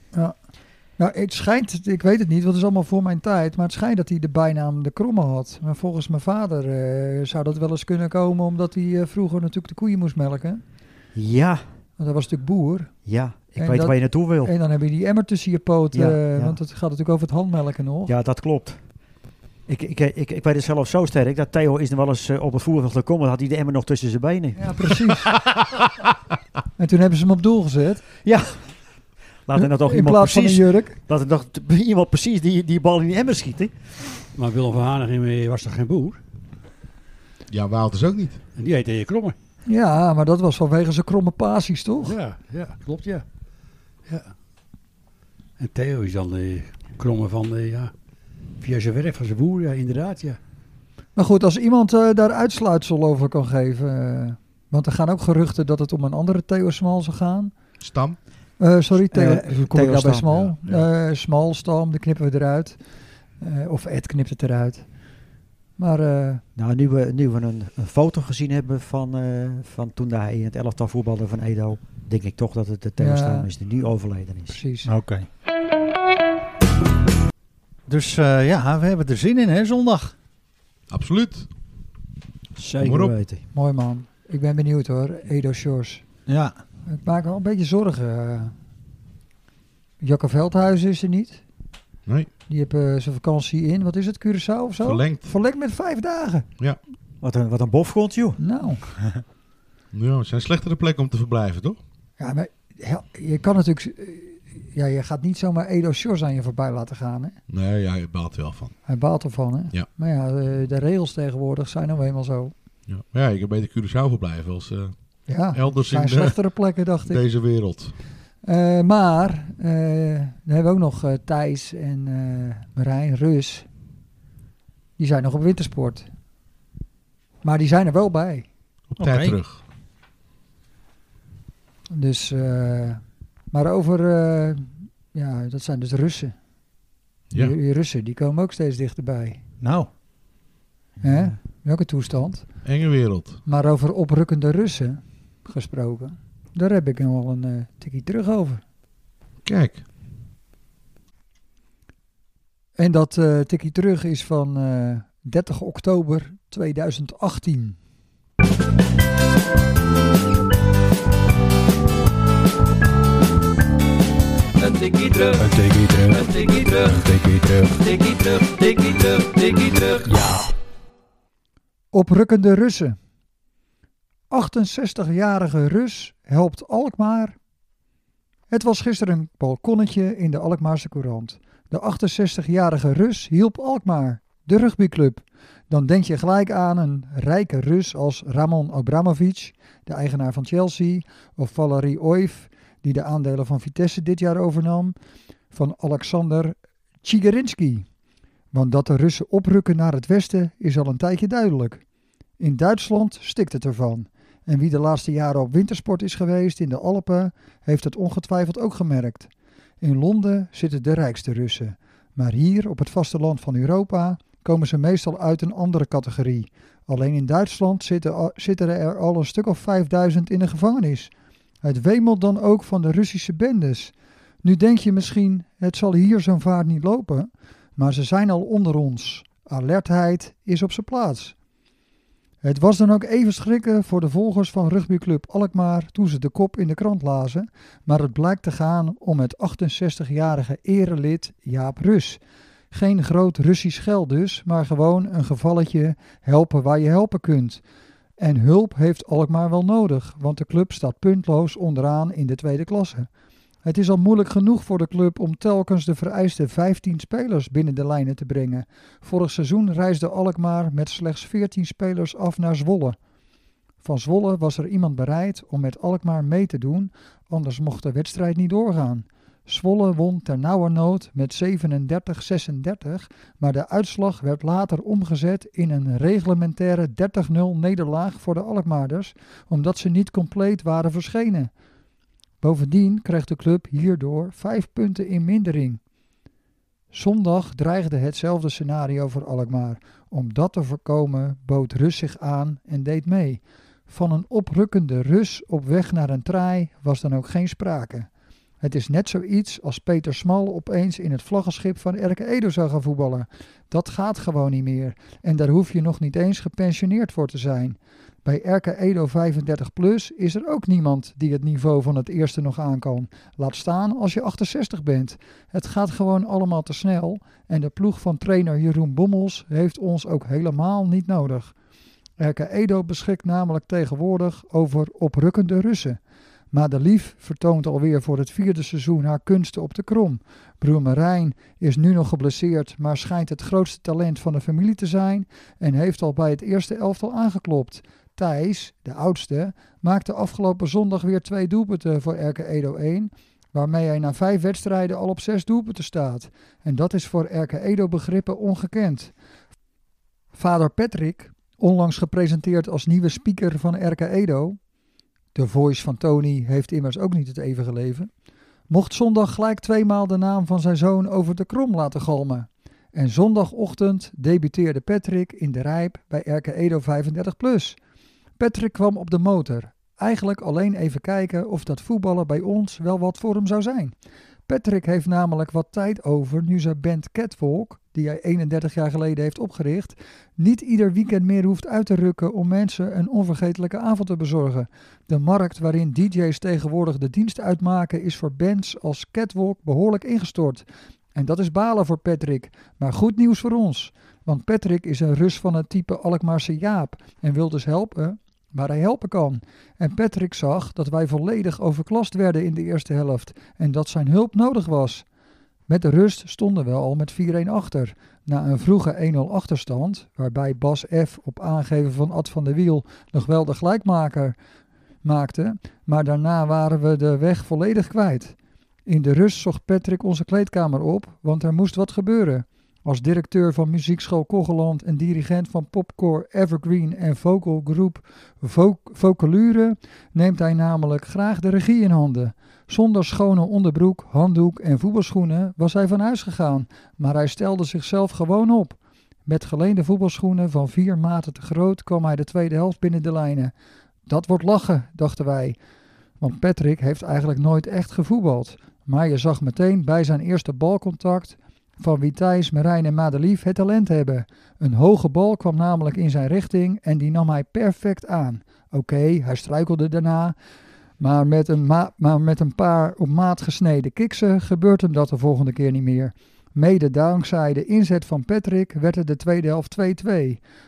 F: Nou, het schijnt, ik weet het niet, want het is allemaal voor mijn tijd. Maar het schijnt dat hij de bijnaam de kromme had. Maar volgens mijn vader eh, zou dat wel eens kunnen komen, omdat hij eh, vroeger natuurlijk de koeien moest melken.
E: Ja,
F: Want hij was natuurlijk boer.
E: ja. Ik
F: En
E: weet
F: dat-
E: waar je naartoe wil.
F: En dan heb je die emmer tussen je poten,
E: Ja,
F: eh,
E: ja.
F: want het gaat natuurlijk over het handmelken nog.
E: Ja, dat klopt. Ik, ik, ik, ik weet het zelf zo sterk dat Theo is nog wel eens eh, op het voertuig gekomen. Had hij de emmer nog tussen zijn benen.
F: Ja, precies.
E: [LAUGHS]
F: en toen hebben ze hem op doel gezet.
E: Laat er nou toch
F: in
E: iemand
F: plaats van een
E: precies,
F: jurk.
E: laat er nog t- iemand precies die, die bal in die emmer schieten.
C: Maar Willem van Hanegem eh, was toch geen boer?
D: Ja, Wouters ook niet.
C: En die heette je Kromme.
F: Ja, maar dat was vanwege zijn kromme passies, toch?
C: Ja, ja, klopt ja. ja. En Theo is dan de Kromme van, eh, ja, via zijn werk van zijn boer, ja, inderdaad, ja.
F: Maar goed, als iemand eh, daar uitsluitsel over kan geven. eh, want er gaan ook geruchten dat het om een andere Theo Smal zou gaan.
D: Stam.
F: Eh, sorry, Theo,
E: Eh,
F: hoe kom
E: Theo
F: ik nou
E: Stam,
F: bij Smal? Eh, Smal, Stam, die knippen we eruit. Eh, of Ed knipt het eruit. Maar eh,
E: Nou, nu we, nu we een, een foto gezien hebben van, eh, van toen hij in het elftal voetbalde van Edo, denk ik toch dat het de Theo
F: Ja.
E: Stam is die nu overleden is.
F: precies.
A: Oké. Dus eh, ja, we hebben er zin in, hè, zondag.
D: Absoluut. Kom maar
E: Zeker
D: op.
E: weten.
F: Mooi man. Ik ben benieuwd hoor, Edo Shores.
A: Ja.
F: Ik maak me wel een beetje zorgen. eh. Jacco Veldhuizen is er niet.
D: Nee,
F: Die heeft eh, zijn vakantie in, wat is het, Curaçao of zo?
D: verlengd.
F: Verlengd met vijf dagen.
E: Wat een, wat een bofgrond, joh.
F: Nou,
D: Ja, het zijn slechtere plekken om te verblijven, toch?
F: ja, maar ja, je kan natuurlijk... eh, Ja, je gaat niet zomaar Edo Shores aan je voorbij laten gaan, hè?
D: Nee, ja, je baalt er wel van.
F: Hij baalt ervan, hè?
D: Ja.
F: Maar ja, eh, de regels tegenwoordig zijn nou eenmaal zo.
D: Ja, maar ja je kan beter Curaçao verblijven als eh,
F: Ja,
D: elders in
F: zijn
D: de- [LAUGHS]
F: slechtere plekken, dacht ik.
D: deze wereld.
F: Eh, maar, eh, dan hebben we ook nog eh, Thijs en eh, Marijn, Rus. Die zijn nog op wintersport. Maar die zijn er wel bij.
D: Op
A: Oké.
D: tijd terug.
F: Dus, eh, maar over, eh, ja, dat zijn dus Russen.
D: Ja.
F: Die, die Russen, die komen ook steeds dichterbij.
A: Nou,
F: Hè? Welke toestand?
D: Enge wereld.
F: Maar over oprukkende Russen gesproken, daar heb ik nog wel een eh tikkie terug over.
D: Kijk,
F: En dat eh tikkie terug is van eh, 30 oktober 2018. Oprukkende Russen. 68-jarige Rus helpt Alkmaar. Het was gisteren een balkonnetje in de Alkmaarse Courant. De 68-jarige Rus hielp Alkmaar, de rugbyclub. Dan denk je gelijk aan een rijke Rus als Ramon Abramovic, de eigenaar van Chelsea, of Valery Oif, die de aandelen van Vitesse dit jaar overnam, van Alexander Tsigerinski. Want dat de Russen oprukken naar het westen is al een tijdje duidelijk. In Duitsland stikt het ervan. En wie de laatste jaren op wintersport is geweest in de Alpen, heeft het ongetwijfeld ook gemerkt. In Londen zitten de rijkste Russen. Maar hier, op het vasteland van Europa, komen ze meestal uit een andere categorie. Alleen in Duitsland zitten, al- zitten er al een stuk of 5000 in de gevangenis. Het wemelt dan ook van de Russische bendes. Nu denk je misschien, het zal hier zo'n vaart niet lopen maar ze zijn al onder ons. Alertheid is op zijn plaats. Het was dan ook even schrikken voor de volgers van rugbyclub Alkmaar toen ze de kop in de krant lazen, maar het blijkt te gaan om het 68-jarige erelid Jaap Rus. Geen groot Russisch geld dus, maar gewoon een gevalletje helpen waar je helpen kunt. En hulp heeft Alkmaar wel nodig, want de club staat puntloos onderaan in de tweede klasse. Het is al moeilijk genoeg voor de club om telkens de vereiste 15 spelers binnen de lijnen te brengen. Vorig seizoen reisde Alkmaar met slechts 14 spelers af naar Zwolle. van Zwolle was er iemand bereid om met Alkmaar mee te doen, anders mocht de wedstrijd niet doorgaan. Zwolle won ternauwernood met 37-36, maar de uitslag werd later omgezet in een reglementaire 30-0 nederlaag voor de Alkmaarders, omdat ze niet compleet waren verschenen. Bovendien kreeg de club hierdoor vijf punten in mindering. Zondag dreigde hetzelfde scenario voor Alkmaar. Om dat te voorkomen bood Rus zich aan en deed mee. Van een oprukkende Rus op weg naar een traai was dan ook geen sprake. Het is net zoiets als Peter Smal opeens in het vlaggenschip van Erke Edo zou gaan voetballen. Dat gaat gewoon niet meer en daar hoef je nog niet eens gepensioneerd voor te zijn. Bij Erke Edo 35 plus is er ook niemand die het niveau van het eerste nog aan kan. Laat staan als je 68 bent. Het gaat gewoon allemaal te snel en de ploeg van trainer Jeroen Bommels heeft ons ook helemaal niet nodig. Erke Edo beschikt namelijk tegenwoordig over oprukkende Russen. Madelief vertoont alweer voor het vierde seizoen haar kunsten op de krom. Broer Marijn is nu nog geblesseerd, maar schijnt het grootste talent van de familie te zijn en heeft al bij het eerste elftal aangeklopt. Thijs, de oudste, maakte afgelopen zondag weer twee doelpunten voor Erke Edo 1, waarmee hij na vijf wedstrijden al op zes doelpunten staat. En dat is voor Erke Edo begrippen ongekend. Vader Patrick, onlangs gepresenteerd als nieuwe speaker van Erke Edo, de voice van Tony heeft immers ook niet het eeuwige leven. Mocht zondag gelijk tweemaal de naam van zijn zoon over de krom laten galmen. En zondagochtend debuteerde Patrick in de Rijp bij Erke Edo 35+. Patrick kwam op de motor. Eigenlijk alleen even kijken of dat voetballen bij ons wel wat voor hem zou zijn. Patrick heeft namelijk wat tijd over nu zijn band Catwalk, die hij 31 jaar geleden heeft opgericht, niet ieder weekend meer hoeft uit te rukken om mensen een onvergetelijke avond te bezorgen. De markt waarin DJ's tegenwoordig de dienst uitmaken is voor bands als Catwalk behoorlijk ingestort. En dat is balen voor Patrick, maar goed nieuws voor ons. Want Patrick is een Rus van het type Alkmaarse Jaap en wil dus helpen waar hij helpen kan. En Patrick zag dat wij volledig overklast werden in de eerste helft en dat zijn hulp nodig was. Met de rust stonden we al met 4-1 achter. Na een vroege 1-0 achterstand, waarbij Bas F. op aangeven van Ad van der Wiel nog wel de gelijkmaker maakte, maar daarna waren we de weg volledig kwijt. In de rust zocht Patrick onze kleedkamer op, want er moest wat gebeuren. Als directeur van muziekschool Kogeland en dirigent van popcore Evergreen en vocal groep Vo- Vocalure neemt hij namelijk graag de regie in handen. Zonder schone onderbroek, handdoek en voetbalschoenen was hij van huis gegaan, maar hij stelde zichzelf gewoon op. Met geleende voetbalschoenen van vier maten te groot kwam hij de tweede helft binnen de lijnen. Dat wordt lachen, dachten wij. Want Patrick heeft eigenlijk nooit echt gevoetbald. Maar je zag meteen bij zijn eerste balcontact van wie Thijs, Merijn en Madelief het talent hebben. Een hoge bal kwam namelijk in zijn richting en die nam hij perfect aan. Oké, hij struikelde daarna, maar met, een ma- maar met een paar op maat gesneden kiksen gebeurt hem dat de volgende keer niet meer. Mede dankzij de inzet van Patrick werd het de tweede helft 2-2.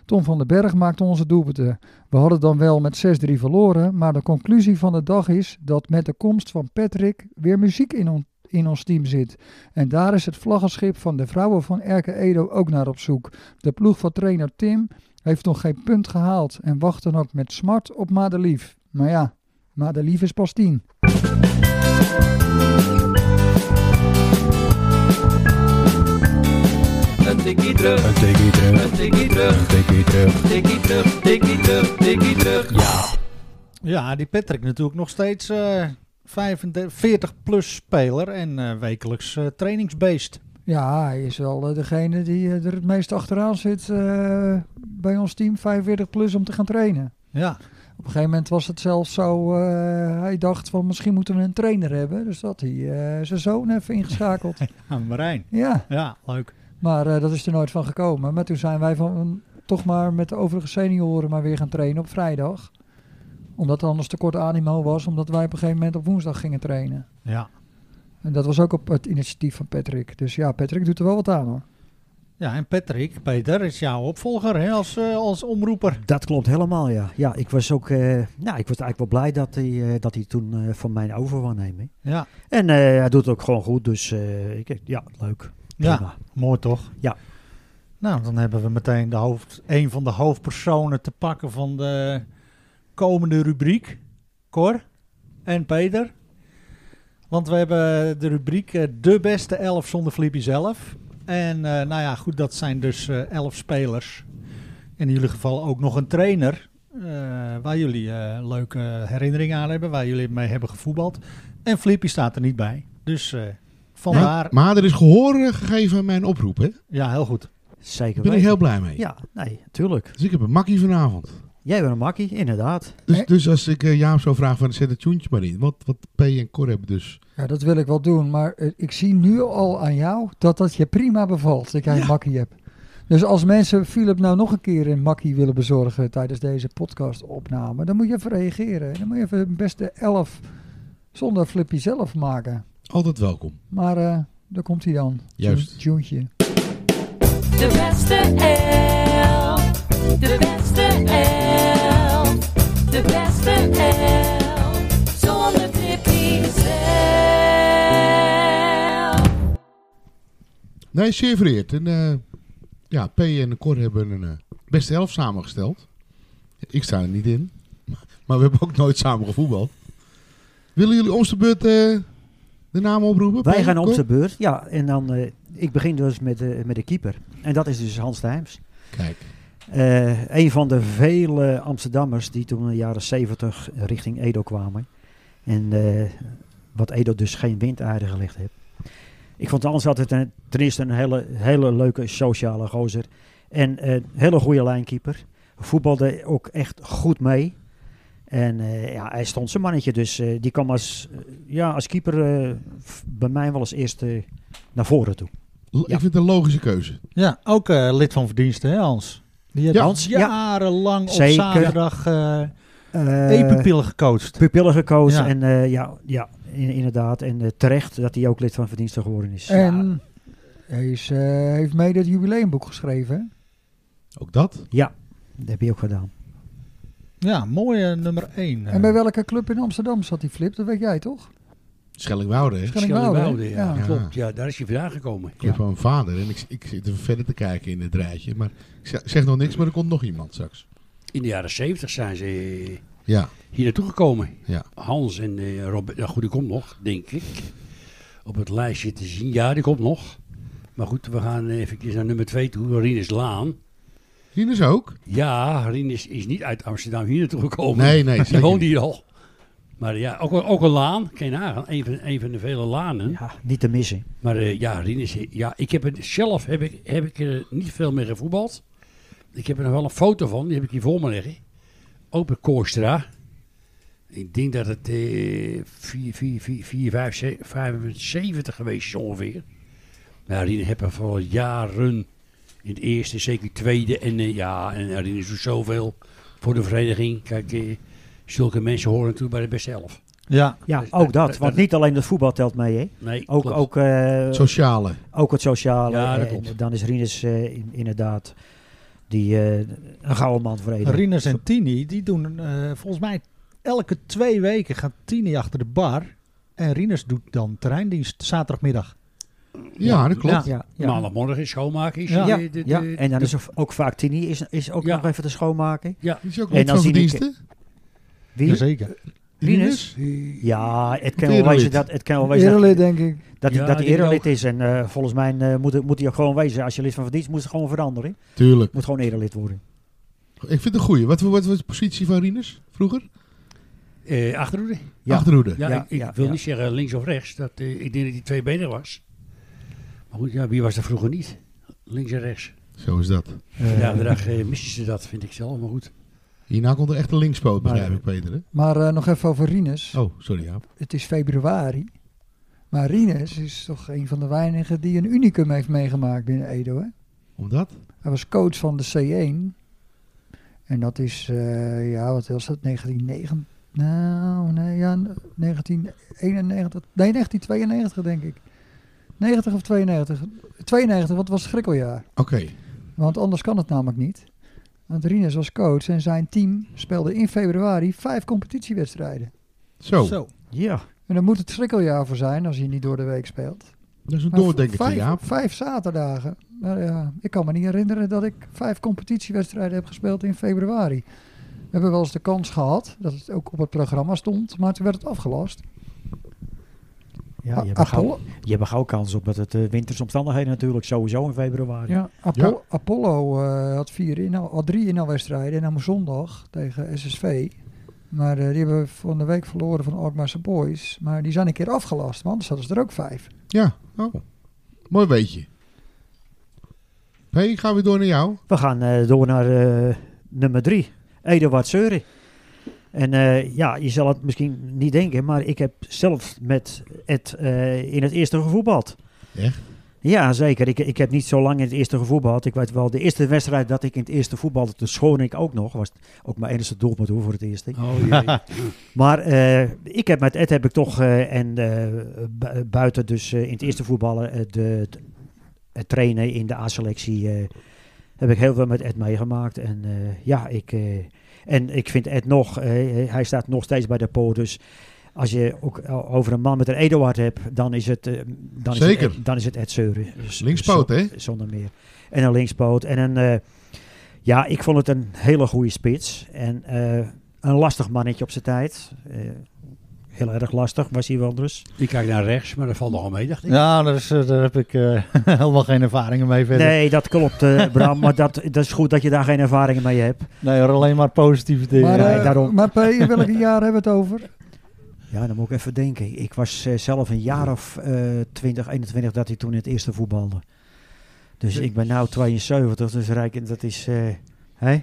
F: Tom van den Berg maakte onze doelpunten. We hadden dan wel met 6-3 verloren, maar de conclusie van de dag is dat met de komst van Patrick weer muziek in, on- in ons team zit. En daar is het vlaggenschip van de vrouwen van Erke Edo ook naar op zoek. De ploeg van trainer Tim heeft nog geen punt gehaald en wacht dan ook met smart op Madelief. Maar ja, Madelief is pas tien.
H: Een tikkie terug,
B: Een tikkie terug,
H: een tikkie terug,
B: een tikkie terug.
H: tikkie terug, tikkie terug, tikkie terug.
B: Ja,
A: Ja, die Patrick natuurlijk nog steeds eh 45 plus speler en eh, wekelijks eh, trainingsbeest.
F: Ja, hij is wel eh, degene die eh, er het meest achteraan zit eh, bij ons team 45 plus om te gaan trainen.
A: Ja,
F: Op een gegeven moment was het zelfs zo, eh, hij dacht van misschien moeten we een trainer hebben. Dus dat hij eh, zijn zoon even [LAUGHS] ingeschakeld.
A: aan Marijn.
F: ja.
A: Ja, leuk.
F: Maar eh, dat is er nooit van gekomen. Maar toen zijn wij van, toch maar met de overige senioren maar weer gaan trainen op vrijdag. Omdat er anders te kort animo was, omdat wij op een gegeven moment op woensdag gingen trainen.
A: Ja.
F: En dat was ook op het initiatief van Patrick. Dus ja, Patrick doet er wel wat aan hoor.
A: ja, en Patrick, Peter, is jouw opvolger hè, als, eh, als omroeper.
E: Dat klopt helemaal, ja. Ja, ik was ook, eh, nou, ik was eigenlijk wel blij dat hij, eh, dat hij toen eh, van mij over wou nemen.
A: Ja,
E: En eh, hij doet het ook gewoon goed, dus eh, ik, ja, leuk.
A: ja.
E: Prima.
A: Mooi toch?
E: Ja.
A: Nou, dan hebben we meteen de hoofd, een van de hoofdpersonen te pakken van de komende rubriek, Cor en Peter. Want we hebben de rubriek eh, De Beste Elf zonder Flippy zelf. En eh, nou ja, goed, dat zijn dus eh, elf spelers. In jullie geval ook nog een trainer. eh, waar jullie eh, leuke herinneringen aan hebben, waar jullie mee hebben gevoetbald. En Flippy staat er niet bij. Dus eh, vandaar.
D: Maar, maar er is gehoor eh, gegeven aan mijn oproep, hè? Daar
A: Ja, heel goed.
E: Zeker
D: ben ik
E: weten.
D: heel blij mee.
E: Ja, nee, tuurlijk.
D: Dus ik heb een makkie vanavond.
E: Jij bent een makkie, inderdaad.
D: Dus,
F: Nee.
D: dus als ik eh, Jaap zou vragen, van, zet het tuentje maar in. Want wat P en Cor hebben dus.
F: Ja, dat wil ik wel doen. Maar eh, ik zie nu al aan jou dat dat je prima bevalt. Dat jij een makkie hebt. Dus als mensen Philip nou nog een keer een makkie willen bezorgen tijdens deze podcastopname, dan moet je even reageren. Dan moet je even een beste elf zonder Flippy zelf maken.
D: Altijd welkom.
F: Maar eh, daar komt hij dan.
D: Juist.
F: Tuntje.
I: De beste elf. De beste elf. De beste elf. Zonder Tippy zelf.
D: Nee, zeer vereerd. En, eh, ja, P en Cor hebben een eh, beste elf samengesteld. Ik sta er niet in. Maar we hebben ook nooit samen gevoetbald. Willen jullie om de beurt eh, de naam oproepen? P
E: Wij
D: en
E: gaan op
D: Cor?
E: de beurt. Ja, en dan, eh, ik begin dus met, eh, met de keeper. En dat is dus Hans Dijms.
D: Kijk,
E: Eh, een van de vele Amsterdammers die toen in de jaren 70 richting Edo kwamen. En eh, wat Edo dus geen windaarde gelegd heeft. Ik vond Hans altijd een, ten eerste een hele, hele leuke sociale gozer. En een hele goede lijnkeeper. Voetbalde ook echt goed mee. En eh, ja, hij stond zijn mannetje. Dus eh, die kwam als, eh, ja, als keeper eh, f- bij mij wel als eerste naar voren toe.
D: L- ik
E: Ja.
D: vind het een logische keuze.
A: Ja, ook eh, lid van verdiensten, hè, Hans? Die heeft
D: Ja.
A: Hans
E: Ja.
A: jarenlang op
E: Zeker.
A: zaterdag eh
E: Eh,
A: epenpillen gecoacht.
E: pupillen gekozen.
A: Ja.
E: En eh, ja, ja in- inderdaad. En eh, terecht dat hij ook lid van Verdiensten geworden is. Ja,
F: En hij is, eh, heeft mede het jubileumboek geschreven. hè?
D: Ook dat?
E: dat heb je ook gedaan.
A: Ja, mooie nummer eh. 1.
F: En bij welke club in Amsterdam zat die Flip? Dat weet jij toch?
D: Schellingwoude, hè?
F: Schellingwoude, hè?
C: Schellingwoude, ja.
D: Ja.
C: Klopt, ja, daar is hij vandaan gekomen.
D: Ik heb van mijn vader en ik, ik zit even verder te kijken in het rijtje. Maar ik zeg- zeg nog niks, maar er komt nog iemand straks.
C: In de jaren 70 zijn ze eh,
D: Ja,
C: hier naartoe gekomen.
D: ja.
C: Hans en eh, Robert, nou goed, die komt nog, denk ik. Op het lijstje te zien. Ja, die komt nog. Maar goed, we gaan even naar nummer 2 toe. Rinus Laan.
D: Rinus ook?
C: Ja, Rinus is niet uit Amsterdam hier naartoe gekomen.
D: Nee, nee,
C: Die
D: zeker
C: woont
D: niet.
C: hier al. Maar ja, ook, ook een laan. Geen nagaan. Een van, een van de vele lanen.
E: Ja, niet te missen.
C: Maar eh, ja, Rinus, ja, ik heb het, zelf heb ik, heb ik er niet veel mee gevoetbald. Ik heb er nog wel een foto van, die heb ik hier voor me liggen. Ook bij Koorstra. Ik denk dat het eh 4, 4, 4, 4, 5, 7, 75 geweest is ongeveer. Maar Rinus heb er voor jaren in het eerste, zeker tweede. En eh, ja, en Rinus doet zoveel voor de vereniging. Kijk, eh, zulke mensen horen toe bij de beste elf.
A: Ja,
E: Ja,
C: Dus
E: ook
C: dat-
E: dat.
C: dat-
E: Want
C: dat-
E: niet alleen het voetbal telt mee, hè.
C: Nee,
E: Ook,
C: klopt.
E: ook, eh,
D: Sociale.
E: ook het sociale.
C: Ja, dat
E: En
C: klopt.
E: dan is Rinus eh, in- inderdaad die, eh, een gouden man voor Edo.
A: Rinus en Tini, die doen eh, volgens mij elke twee weken gaat Tini achter de bar. En Rinus doet dan terreindienst zaterdagmiddag.
D: Ja, dat klopt.
E: ja, ja.
C: Maandagmorgen is schoonmaken. Is
A: Ja.
C: eh,
E: Ja,
C: de- de-
E: ja,
C: de-
E: en dan is er ook vaak Tini is, is ook
C: Ja.
E: nog even te schoonmaken.
D: Die is ook
E: En
D: niet
E: dan
D: van
E: zie ik-
D: verdiensten.
E: Wie?
A: Zeker.
E: Rinus? Ja, het kan wel
D: Erelid.
E: wezen dat, het kan wel wezen
F: Eerlijk,
E: dat,
F: denk ik.
E: dat,
C: Ja,
E: dat hij
C: ik denk
E: erelid is. En eh, volgens mij eh, moet, het- moet hij ook gewoon wezen. Als je lid van verdienst moet het gewoon veranderen.
D: Tuurlijk.
E: Moet gewoon erelid worden.
D: Ik vind het een goeie. Wat, wat was de positie van Rinus vroeger?
C: Eh, achterhoede?
E: Ja.
D: Achterhoede.
C: Ja,
E: Ja,
C: ik, ik
E: ja,
C: wil
E: ja.
C: niet zeggen links of rechts. Dat, eh, ik denk dat hij twee benen was. Maar goed, ja, wie was er vroeger niet? Links en rechts.
D: Zo is dat.
C: Vandaag de dag eh, missen ze dat, vind ik zelf. Maar goed.
D: Hierna komt er echt een linkspoot, begrijp
E: Maar-
D: ik, Peter. Hè?
F: Maar eh, nog even over Rinus.
D: Oh, sorry Jaap.
F: Het is februari. Maar Rinus is toch een van de weinigen die een unicum heeft meegemaakt binnen Edo. Hè?
D: Omdat?
F: Hij was coach van de C1. En dat is, eh, ja, wat was dat? 1990. Nou, nee, ja, 1991. Nee, 1992 denk ik. 90 of 92? 92, want het was schrikkeljaar.
D: Oké.
F: Want anders kan het namelijk niet. Want Rinus was coach en zijn team speelde in februari vijf competitiewedstrijden.
D: Zo.
E: Ja.
F: En dan moet het schrikkeljaar voor zijn als je niet door de week speelt.
D: Dat is een
F: Maar
D: doordenker van
F: vijf,
D: Jaap.
F: vijf zaterdagen. Nou Maar ja, ik kan me niet herinneren dat ik vijf competitiewedstrijden heb gespeeld in februari. We hebben wel eens de kans gehad dat het ook op het programma stond, maar toen werd het afgelast.
E: Ja, je, hebt
F: Apollo-
E: gauw, je hebt gauw kans op dat het eh, wintersomstandigheden natuurlijk sowieso in februari.
F: Ja, Apollo, Apollo eh, had, vier inhaal, had drie inhaalwedstrijden en nam zondag tegen SSV. Maar eh, die hebben we van de week verloren van Alkmaarse Boys. Maar die zijn een keer afgelast, want anders hadden ze er ook vijf.
D: Ja, oh. mooi beetje. Hey, ik ga weer door naar jou.
E: We gaan eh, door naar eh, nummer drie. Eduard Seuren. En eh, ja, je zal het misschien niet denken, maar ik heb zelf met Ed eh, in het eerste gevoetbald.
D: Echt?
E: Ja, zeker. Ik, ik heb niet zo lang in het eerste gevoetbald. Ik weet wel, de eerste wedstrijd dat ik in het eerste voetbalde, toen schoon ik ook nog. Was ook mijn enige doelpunt hoor, voor het eerste.
C: Oh jee.
E: Maar eh, ik heb met Ed heb ik toch, eh, en eh, bu- buiten dus eh, in het eerste voetballen, eh, de, t- het trainen in de A-selectie, eh, heb ik heel veel met Ed meegemaakt. En eh, ja, ik, eh, en ik vind Ed nog, eh, hij staat nog steeds bij de poort. Dus als je ook eh, over een man met een Eduard hebt, dan is het, eh, dan Is
D: Zeker.
E: het Ed, dan is het Ed Dus- Zeuren. Z-
D: Linkspoot,
E: zo-
D: hè?
E: Zonder meer. En een linkspoot. En een, eh, ja, ik vond het een hele goede spits. En eh, een lastig mannetje op zijn tijd. Eh, heel erg lastig was hij wel dus.
C: Die kijkt naar rechts, maar dat valt nogal mee, dacht ik.
A: Ja, daar, is, eh, daar heb ik eh, [LAUGHS] helemaal geen ervaringen mee verder. Nee,
E: Nee, dat klopt, eh, Bram. maar dat, [LAUGHS] dat is goed dat je daar geen ervaringen mee hebt.
A: hoor, alleen maar positiviteit.
F: Maar,
E: nee,
F: eh,
E: daarom.
F: maar P, in welke jaar hebben we het
E: [LAUGHS]
F: over?
E: Ja, dan moet ik even denken. Ik was eh, zelf een jaar of eh 20, 21 dat hij toen in het eerste voetbalde. Dus ik ben nu 72, dus rijk, dat is... eh hè?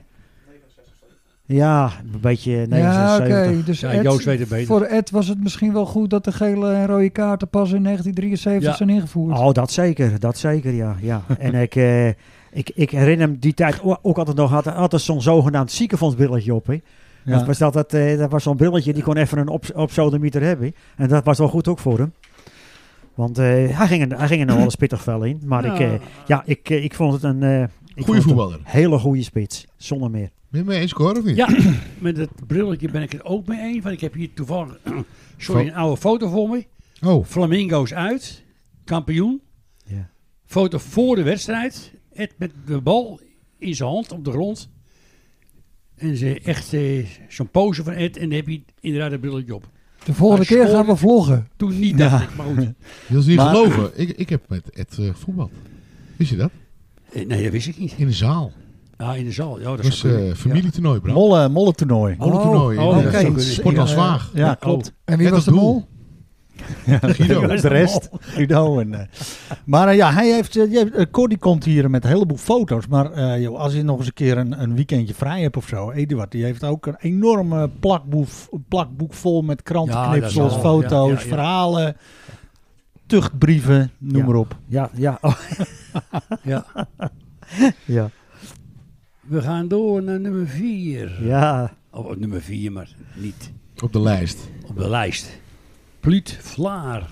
E: Ja, een beetje eh, 79.
F: Ja, oké. Dus
C: Ja,
F: Ed-
C: Joost weet het beter.
F: voor Ed was het misschien wel goed dat de gele en rode kaarten pas in 1973
C: Ja. Ah.
F: zijn ingevoerd.
E: Oh, dat zeker, dat zeker, ja. ja. en ik, eh, ik, ik herinner me die tijd o- ook altijd nog, had, altijd zo'n zogenaamd ziekenfondsbrilletje op. Hè. Dat,
A: Ja.
E: was dat, dat, eh, dat was zo'n brilletje, die kon even een op, opzodemieter hebben. hè. En dat was wel goed ook voor hem. Want eh, hij, ging er, hij ging er nog wel eens pittig fel in. Maar ik,
C: Nou,
E: eh, ja, ik, eh, ik vond het een, eh, ik vond
D: Goeie
E: het een
D: voetballer.
E: hele goede spits, zonder meer.
D: Ben je mee eens, Cor, of niet?
C: Ja, met het brilletje ben ik het ook mee eens. Want ik heb hier toevallig sorry,
D: Fo-
C: een oude foto voor me.
D: Oh,
C: Flamingo's uit, kampioen.
E: Ja.
C: Foto voor de wedstrijd. Ed met de bal in zijn hand op de grond. En ze echt eh, zo'n pose van Ed. En dan heb je inderdaad een brilletje op.
F: De volgende
C: hij
F: keer gaan we vloggen.
C: Toen niet, dacht ik. Maar
E: [LAUGHS]
C: goed.
D: je wil niet
A: Maar-
D: geloven. Ik, ik heb met Ed eh, voetbal. Wist je dat?
C: Eh, Nee, dat wist ik niet.
D: In de zaal.
C: Ah, in de zaal. Ja, dat
D: Dat was
C: zou kunnen.
D: eh familietoernooi, Bram.
A: Molle, molle toernooi.
D: Molle toernooi. eh,
C: oh,
D: ja.
C: oké.
D: Sport- Sport als
F: Ja.
D: Waag.
A: Ja,
C: Ja.
A: klopt.
F: En wie
D: Ed
F: was de
D: het
C: [LAUGHS]
D: doel.
F: mol?
A: [LAUGHS]
D: Guido.
A: De rest, [LAUGHS] Guido. En, eh, maar eh, ja, hij heeft, eh, die heeft- eh, Cor die komt hier met een heleboel foto's. Maar eh, joh, als je nog eens een keer een, een weekendje vrij hebt of zo. Eduard, die heeft ook een enorme plakboek, plakboek vol met
C: Ja,
A: krantenknipsels,
C: dat is wel-
A: foto's,
C: ja, ja, ja.
A: verhalen, tuchtbrieven, noem
E: Ja.
A: maar op.
C: Nou,
E: Ja, ja. oh,
C: Ja.
E: ja.
C: We gaan door naar nummer 4.
E: ja.
C: Of op nummer 4, maar niet
D: Op de lijst.
C: op de lijst. Pluut Vlaar.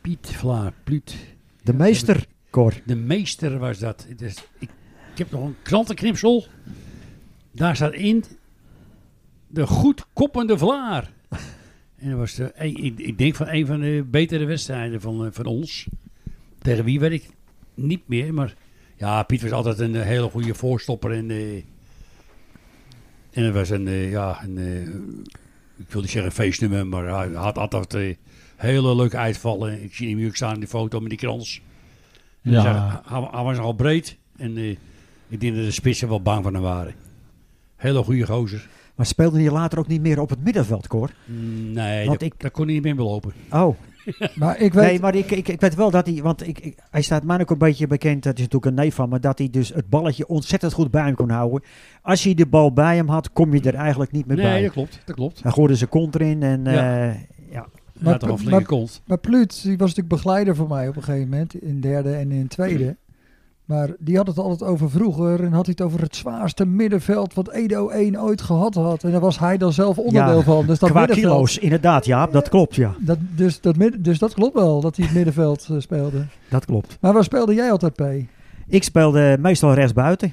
C: Piet Vlaar, Pluut.
E: De meester, Cor.
C: De meester was dat. Het is- ik, ik heb nog een krantenknipsel. Daar staat in de goed koppende Vlaar. En dat was de, eh, ik, ik denk van een van de betere wedstrijden van, eh, van ons. Tegen wie weet ik niet meer. Maar ja, Piet was altijd een eh, hele goede voorstopper. En, eh, en het was een, eh, ja, een, eh, ik wil niet zeggen feestnummer, maar hij had altijd eh, hele leuke uitvallen. Ik zie hem ook staan in die foto met die krans. En
A: Ja.
C: hij, zag- hij- hij was al breed en eh, ik denk dat de spitsen wel bang van hem waren. Hele goede gozer.
E: Maar speelde hij later ook niet meer op het middenveld, Cor?
C: Nee,
E: Want
C: dat,
E: ik-
C: dat kon hij niet meer belopen.
E: Oh,
F: Maar ik weet,
E: nee, maar ik, ik, ik weet wel dat hij, want ik, ik- hij staat mij ook een beetje bekend, dat is natuurlijk een neef van me, dat hij dus het balletje ontzettend goed bij hem kon houden. Als hij de bal bij hem had, kom je er eigenlijk niet meer
C: Nee,
E: bij.
C: dat klopt. Dat klopt.
E: Hij gooide zijn kont erin en eh,
C: Ja.
E: ja. ja.
C: Hij had toch een
F: maar-
C: flinke kont.
F: maar Pluut, die was natuurlijk begeleider voor mij op een gegeven moment. In derde en in tweede. Maar die had het altijd over vroeger. En had hij het over het zwaarste middenveld wat Edo 1 ooit gehad had. En daar was hij dan zelf onderdeel
E: Ja,
F: van. Dus dat
E: qua
F: middenveld-
E: kilo's, inderdaad, Jaap, dat klopt, ja.
F: Dat, dus, dat midden- dus dat klopt wel, dat hij het middenveld eh, speelde.
E: Dat klopt.
F: Maar waar speelde jij altijd, P?
E: Ik speelde meestal rechtsbuiten.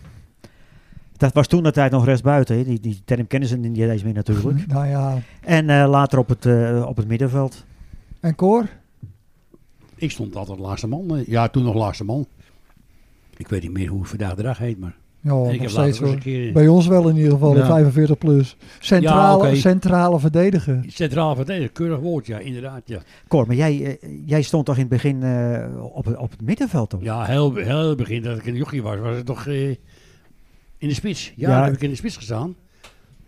E: Dat was toen de tijd nog rechtsbuiten, hè. die, die term kennen ze niet eens meer natuurlijk.
F: Nou ja,
E: En eh, later op het, eh, op het middenveld.
F: en Cor?
C: Ik stond altijd laatste man. eh, Ja, toen nog laatste man. Ik weet niet meer hoe het vandaag de dag heet, maar
F: Ja,
C: En ik
F: Oh, nog
C: heb
F: steeds
C: later ook eens
F: hoor.
C: een keer
F: Bij ons wel in ieder geval,
A: Ja.
F: in 45 plus. Centrale,
C: Ja, oké.
F: centrale verdediger.
C: centraal verdediger, keurig woord, ja, inderdaad. Ja,
E: Cor, maar jij, eh, jij stond toch in het begin eh, op, het- op het middenveld? Toch?
C: ja heel, heel begin dat ik een jochie was, was het toch eh, in de spits. Ja,
E: Ja.
C: daar heb ik in de spits gestaan.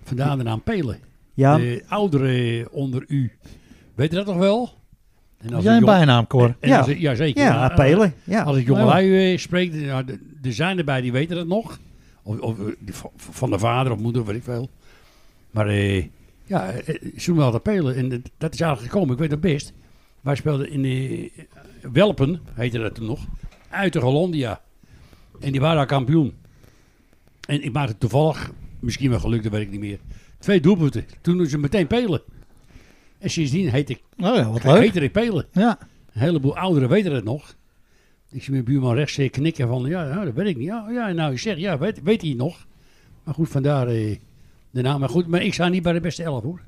C: Vandaar de naam Pelen.
E: Ja,
C: De ouderen onder u, weet je dat nog wel? En
A: Jij een
C: jong-
A: bijnaam, Cor.
C: en
E: Ja.
C: als- ja, zeker.
E: ja,
C: Eh,
E: Pelen. Ja.
C: Als ik jongelui eh spreek, ja, de- er zijn erbij die weten dat nog. Of, of eh, die van- van de vader of moeder, weet ik veel. Maar eh, ja, eh, ze noemen altijd Pelen. En eh, dat is eigenlijk gekomen, ik weet het best. Wij speelden in eh, Welpen, heette dat toen nog, uit de Hollandia. En die waren daar kampioen. En ik maakte toevallig, misschien wel geluk, dat weet ik niet meer, twee doelpunten. Toen doen ze meteen Pelen. En sindsdien heet ik,
A: Oh ja, wat leuk.
C: heette ik Pelen.
A: Ja.
C: Een heleboel ouderen weten het nog. Ik zie mijn buurman rechts eh, knikken van, ja, ja, dat weet ik niet. Ja, ja nou, je zegt, ja, weet, weet hij het nog. Maar goed, vandaar eh, de naam. Maar goed, maar ik sta niet bij de beste elf, hoor.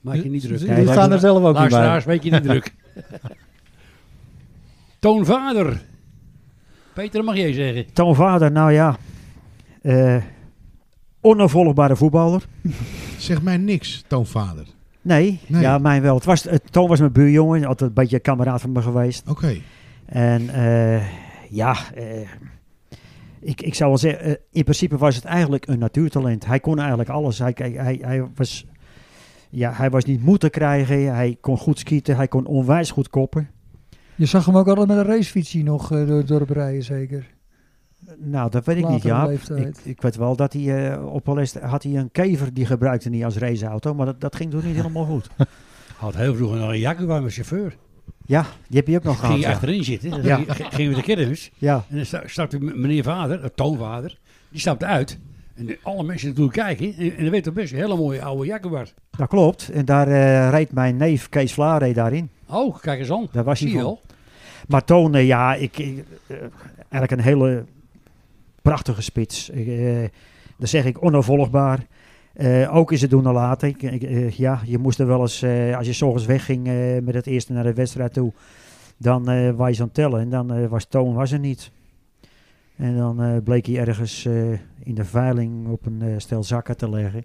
C: Maak je niet druk.
A: Die
E: Kijk,
A: staan er zelf ook niet bij.
C: Luisteraars, weet je niet
A: [LAUGHS]
C: druk. Toonvader. Peter, dat mag jij zeggen.
E: Toon Vader, nou ja. eh, onafvolgbare voetballer.
D: Zeg mij niks, toonvader.
E: Nee,
D: Nee.
E: ja, mijn wel. Het was, het, Toon was mijn buurjongen, altijd een beetje een kameraad van me geweest.
D: Oké.
E: En eh, ja, eh, ik, ik zou wel zeggen, eh, in principe was het eigenlijk een natuurtalent. Hij kon eigenlijk alles. Hij, hij, hij, hij was, ja, hij was niet moe te krijgen, hij kon goed skieten, hij kon onwijs goed koppen.
F: Je zag hem ook altijd met een racefietsie nog eh, door het dorp rijden, zeker.
E: Nou, dat weet ik niet,
F: Latere
E: ja. Ik,
F: leeftijd.
E: ik weet wel dat hij eh, op wel eens had hij een kever die gebruikte niet als raceauto, maar dat, dat ging toen niet helemaal goed.
C: Had heel vroeger nog een Jaguar met chauffeur.
E: Ja, die heb je ook nog gehad.
C: Ging je
E: Ja.
C: achterin zitten. Dan
E: Ja.
C: ging- Gingen we de kermis.
E: ja,
C: En dan sta- stapte m- meneer vader, eh, toonvader, die stapte uit. En de- alle mensen naartoe kijken. En, en dan werd toch best een hele mooie oude Jaguar.
E: dat klopt. En daar eh reed mijn neef Kees Vlaar reed daarin.
C: Oh, kijk eens aan.
E: Daar was
C: Zie
E: hij
C: je
E: van.
C: wel.
E: Maar Toon, eh, ja, ik, ik, eh, eigenlijk een hele prachtige spits. Ik, eh, dat zeg ik onafvolgbaar. Eh, ook is het doen en laten. Ik, ik, eh, ja, je moest er wel eens, eh, als je s ochtends wegging eh, met het eerste naar de wedstrijd toe, dan eh was je aan het tellen. En dan eh, was Toon was er niet. En dan eh, bleek hij ergens eh, in de veiling op een eh, stel zakken te leggen.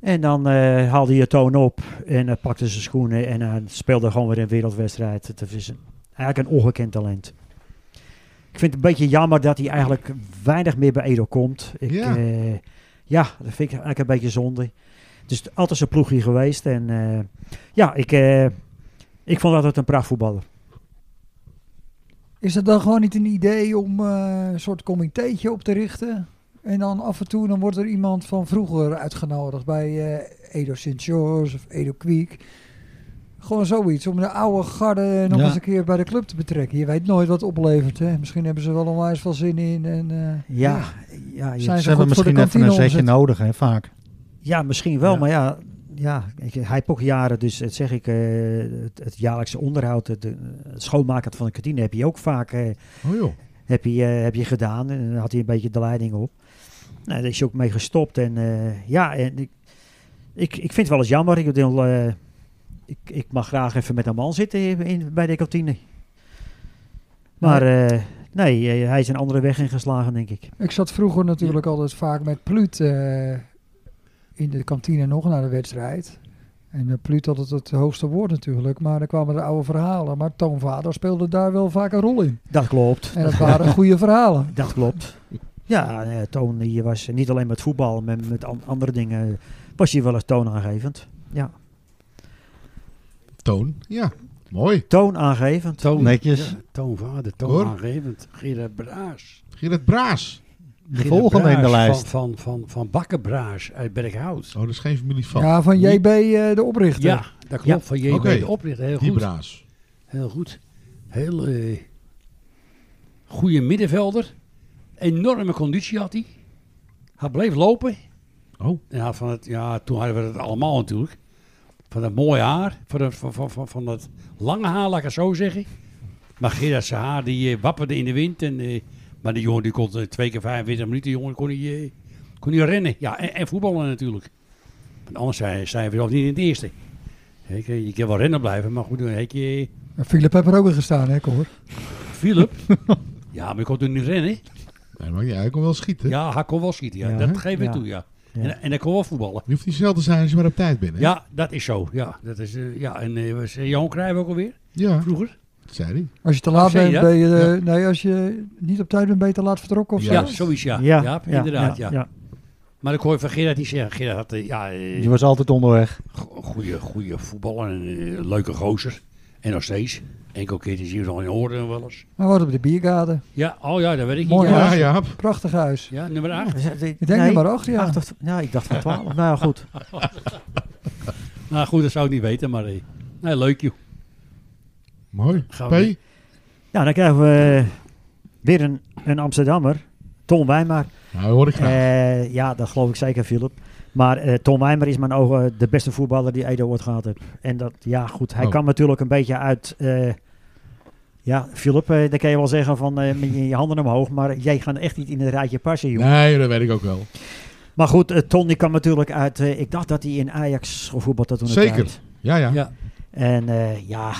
E: en dan eh, haalde je Toon op en hij pakte zijn schoenen en hij speelde gewoon weer een wereldwedstrijd. Het is een- eigenlijk een ongekend talent. Ik vind het een beetje jammer dat hij eigenlijk weinig meer bij Edo komt. Ik,
D: Ja.
E: ja. ja, dat vind ik eigenlijk een beetje zonde. Het is altijd zijn ploegje geweest. En eh, ja, ik, eh, ik vond altijd een prachtvoetballer.
F: Is dat dan gewoon niet een idee om eh, een soort comitéetje op te richten? En dan af en toe dan wordt er iemand van vroeger uitgenodigd bij eh, Edo sint George of Edo Kwiek. Gewoon zoiets, om de oude garde nog
A: Ja.
F: eens een keer bij de club te betrekken. Je weet nooit wat het oplevert. Hè? Misschien hebben ze wel onwijs veel zin in. En, eh,
E: Ja, ja, ja,
F: Zijn
A: Ze
F: ze
A: hebben
F: goed voor de
A: misschien even een
F: kantine
A: zetje nodig, hè, vaak.
E: Ja, misschien wel,
A: Ja.
E: maar ja, ja ik, hij heeft ook jaren, dus dat zeg ik, eh, het, het jaarlijkse onderhoud, het, eh, het schoonmaken van de kantine heb je ook vaak eh,
D: Oh joh.
E: heb je, eh, heb je gedaan. En dan had hij een beetje de leiding op. Nou, daar is hij ook mee gestopt. En eh, ja, en ik, ik, ik vind het wel eens jammer. Ik, bedoel, eh, ik, ik mag graag even met een man zitten in, in- bij de kantine. Maar eh, nee, eh, hij is een andere weg ingeslagen, denk ik.
F: Ik zat vroeger natuurlijk altijd vaak met Pluut eh, in de kantine nog naar de wedstrijd. En eh, Pluut had het, het hoogste woord natuurlijk, maar er kwamen de oude verhalen. Maar Toonvader speelde daar wel vaak een rol in.
E: Dat klopt.
F: En dat waren goede verhalen.
E: Dat klopt. Ja, eh, Toon die was niet alleen met voetbal, maar met an- andere dingen eh, was hij wel eens toonaangevend.
D: Toon. Ja. Mooi.
E: Toonaangevend.
C: Toon,
A: Netjes.
C: ja, toonvader,
D: Hoor.
C: toonaangevend. Gerard Braas.
D: Gerard Braas.
A: De volgende in de lijst.
C: Van, van, van, van Bakkenbraas uit Berghout.
D: Oh, dat is geen familie van.
F: Ja, van JB eh, de oprichter.
C: Ja, dat klopt.
E: Ja.
C: Van JB
D: Oké.
C: de oprichter. Heel
D: Die
C: goed.
D: Braas.
C: Heel goed. Heel eh, goede middenvelder. Enorme conditie had hij. Hij bleef lopen.
D: Oh.
C: En hij had van het, ja, toen hadden we het allemaal natuurlijk. Van dat mooie haar. Van dat, van, van, van, van dat lange haar, laat ik het zo zeggen. Maar Gerard zijn haar, die eh, wapperde in de wind. En, eh, maar die jongen die kon eh, twee keer 45 minuten, die jongen kon hij, eh, kon hij rennen. Ja, en, en voetballen natuurlijk. Want anders zijn, zijn we zelf niet in het eerste. Kijk, eh, Je kan wel rennen blijven, maar goed, dan heb je... eh,
F: Maar Philip heeft er ook in gestaan, hè, Cor?
E: [LAUGHS]
C: Philip. ja, maar ik kon toen niet rennen.
D: Nee, maar ja, hij kon wel schieten.
C: Ja, hij kon wel schieten. Ja.
E: Ja,
C: dat
D: hè?
C: geef ik
E: Ja.
C: toe, ja.
E: Ja.
C: En, en hij kon wel voetballen.
D: Je hoeft niet snel te zijn als je maar op tijd bent. Hè?
C: Ja, dat is zo. Ja, dat is, eh, ja. en eh, was eh, Johan Cruijff ook alweer,
D: ja,
C: vroeger?
D: dat zei hij.
F: Als je te laat
C: zei je
F: bent,
C: dat?
F: ben je... eh, Nee, als je niet op tijd bent, ben je te laat vertrokken of zo.
C: Ja, zoiets, ja. Ja, inderdaad, ja. Maar ik hoor van Gerard niet zeggen. Gerard had, eh, ja, eh,
B: Je was altijd onderweg.
C: go- goede, goede voetballer en eh, leuke gozer. En nog steeds. Enkel keer is hier al in orde en wel eens.
F: Maar wat op de biergade.
C: Ja, oh ja, dat weet ik
F: Mooi,
C: niet. Ja,
D: Ja,
F: Ja.
D: Jaap.
F: Prachtig huis.
C: ja nummer 8.
E: Dus, eh, dit-
F: Ik denk
E: nee,
F: nummer acht, ja.
E: acht of- nou, ik dacht van 12. nou ja, goed.
C: Nou goed, dat zou ik niet weten, maar eh, nee, leuk joh.
D: Mooi.
C: Gaan
D: P.
C: we-
E: Ja, dan krijgen we eh, weer een, een Amsterdammer. Tom Wijmaar.
D: Nou, dat hoor ik graag.
E: Eh, ja, dat geloof ik zeker, Philip. Maar eh, Tom Wijmer is in mijn ogen de beste voetballer die Edo ooit gehad heeft. En dat, ja, goed. Hij
D: Oh.
E: kwam natuurlijk een beetje uit. eh, ja, Philip, eh dan kan je wel zeggen van eh, met je je handen omhoog. Maar jij gaat echt niet in het raadje passen, joh.
D: nee, dat weet ik ook wel.
E: Maar goed, eh, Ton die kwam natuurlijk uit. eh, ik dacht dat hij in Ajax gevoetbald had toen. de
D: Zeker.
E: tijd.
D: Ja, ja.
C: Ja,
E: En eh, ja,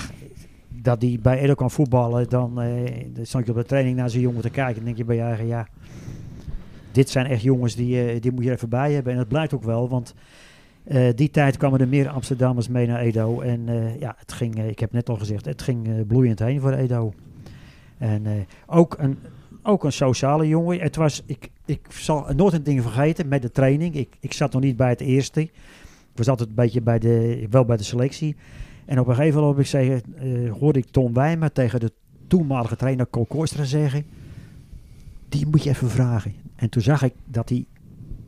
E: dat hij bij Edo kan voetballen, dan, eh, dan stond je op de training naar zijn jongen te kijken. Dan denk je bij je eigen, ja, dit zijn echt jongens die, eh, die moet je er even bij hebben. En dat blijkt ook wel, want eh, die tijd kwamen er meer Amsterdammers mee naar Edo. En eh, ja, het ging, eh, ik heb net al gezegd, het ging eh, bloeiend heen voor Edo. En eh, ook een... Ook een sociale jongen. Het was, ik, ik zal nooit een ding vergeten met de training. Ik, ik zat nog niet bij het eerste. Ik was altijd een beetje bij de, wel bij de selectie. En op een gegeven moment heb ik zeggen, eh, hoorde ik Tom Wijmer tegen de toenmalige trainer Col Koistra zeggen... Die moet je even vragen. En toen zag ik dat hij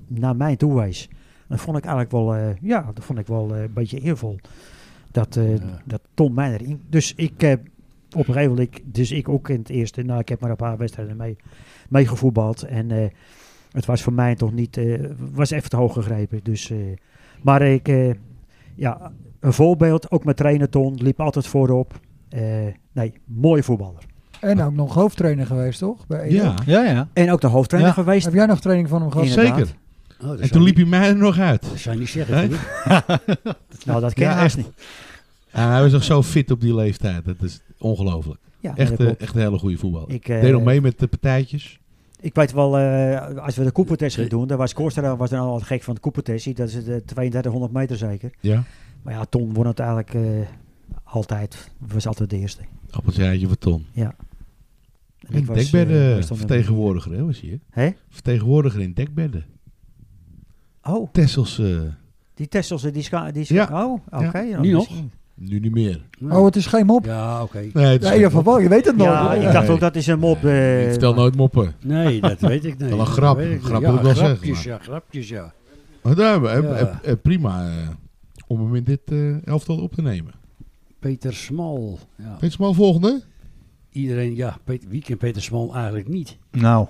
E: naar mij toe wees. Dat vond ik eigenlijk wel, eh, ja, dat vond ik wel eh, een beetje eervol. Dat, eh,
C: Ja.
E: dat Tom mij erin... Dus ik heb op een gegeven moment, ik- dus ik ook in het eerste... Nou, ik heb maar een paar wedstrijden mee, mee gevoetbald. En eh, het was voor mij toch niet... eh, was even te hoog gegrepen. Dus, eh, maar ik... eh, ja, een voorbeeld, ook met trainer Ton, liep altijd voorop. Eh, nee, mooi voetballer.
F: En ook nog hoofdtrainer geweest, toch? Bij Edo.
D: Ja.
B: Ja, ja.
E: En ook de hoofdtrainer geweest.
F: Heb jij nog training van hem gehad?
E: Inderdaad.
D: Zeker.
C: Oh, dat
D: En
C: zou
D: toen
C: ik
D: liep
C: niet-
D: hij mij er nog uit.
C: Dat zou je niet zeggen,
D: Nee?
C: Philip.
E: Nou, dat ken
D: Ja,
E: je haast niet.
D: Ja, hij was nog zo fit op die leeftijd. Dat is ongelooflijk.
E: Ja,
D: Echt,
E: dat
D: eh,
E: klopt.
D: echt een hele goede voetbal.
E: ik, eh,
D: Deed nog mee met de partijtjes.
E: ik weet wel, eh, als we de Coopertest gaan
C: De-
E: doen, daar was Korstra was er al wat gek van de Coopertest. Dat is de 3200 meter zeker.
D: Ja.
E: Maar ja, Ton won het eigenlijk eh, altijd. Was altijd de eerste.
D: Appeltje eitje voor Ton.
E: En
D: In
E: was, eh,
D: dekbedden
E: was dan-
D: vertegenwoordiger, hè, was hij? hè?
E: Hè?
D: Vertegenwoordiger in dekbedden.
E: Oh,
D: Tessels, eh,
E: die Tessels, die scha... Die
D: Ja.
E: scha- Oh, oké. ja,
C: Nu nog?
E: misschien.
D: nu niet meer.
F: Oh, het is geen mop.
C: Ja, oké.
D: Nee, het is
F: Ja,
D: geen
F: in ieder geval
D: mop.
F: wel, je weet het nog.
E: Ja, ik dacht ook dat is een mop. eh,
D: Ik vertel nooit moppen.
C: Nee, dat weet ik niet.
D: [LAUGHS] Wel een
C: Dat
D: grap.
C: weet ik niet.
D: Grap
C: ja,
D: moet ik wel zeggen,
C: grapjes,
D: maar.
C: Ja, grapjes, ja.
D: Maar daar, eh,
C: Ja.
D: eh, eh, prima eh, om hem in dit eh, elftal op te nemen.
C: Peter Smal. Ja.
D: Weet je maar volgende?
C: Iedereen, ja, Peter, wie kent Peter Smal eigenlijk niet?
B: Nou,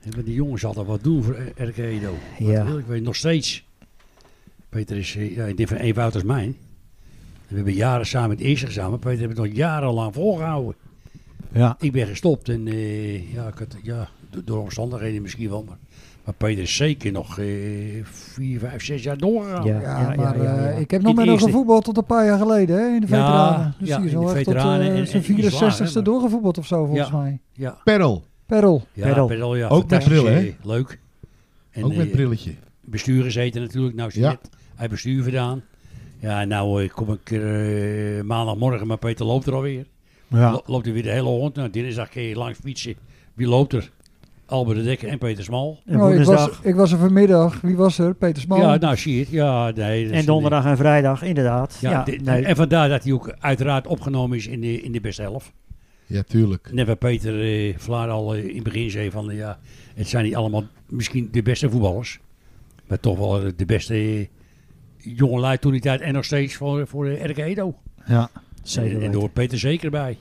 C: Hebben die jongens altijd wat doen voor R- RK Edo?
E: Ja.
F: Oh,
C: Ik weet nog steeds. Peter is, eh, ja, ik denk van één fout als mijn. En We hebben jaren samen het eerste samen. Peter heeft het nog jarenlang volgehouden.
B: ja.
C: Ik ben gestopt en eh, ja, ik had, ja, do- door omstandigheden misschien wel. Maar, maar Peter is zeker nog eh, vier, vijf, zes jaar doorgegaan.
E: Ja,
F: Ja,
E: ja,
F: maar
E: ja, ja,
F: eh,
E: ja.
F: ik heb nog
C: Niet
F: met
C: de
F: hem
C: eerste.
F: gevoetbald tot een paar jaar geleden hè, in
C: Ja,
F: de veteranen. Dus
C: ja,
F: die is
C: in de
F: al echt tot eh,
C: veteranen en- en-
F: zijn
C: en die is laag, hè,
F: 64ste
C: maar-
F: doorgevoetbald of zo, volgens
C: Ja.
F: mij.
C: ja.
D: Perel.
F: Perel.
C: Ja,
E: Perel.
C: Perel, ja.
D: Ook met
C: fantastisch,
D: bril, hè?
C: eh, Leuk. En,
D: Ook met
C: eh,
D: brilletje.
C: bestuur gezeten natuurlijk. Nou, is hij
D: Ja.
C: net uit bestuur gedaan. Ja, nou eh, kom ik er, eh, maandagmorgen, maar Peter loopt er alweer.
B: ja.
C: Lo- loopt hij weer de hele hond. Nou, dinsdag kun je langs fietsen. Wie loopt er? Albert de Dekker en Peter Smal.
E: En
F: Nou, ik, was,
E: woensdag
F: ik was er vanmiddag. Wie was er? Peter Smal.
C: Ja, nou zie je het. Ja, nee, dat is-
E: en donderdag en vrijdag, inderdaad.
C: Ja,
E: Ja,
C: dit-
E: nee.
C: En vandaar dat hij ook uiteraard opgenomen is in de, in de beste helft.
D: Ja, tuurlijk.
C: Net waar Peter eh, Vlaar al eh, in het begin zei van... eh, ja, het zijn niet allemaal misschien de beste voetballers. Maar toch wel eh, de beste eh, jongelui toen die tijd. En nog steeds voor, voor eh, RK Edo.
B: ja.
C: en,
E: Zeker
C: en
E: weten.
C: daar hoort Peter zeker bij.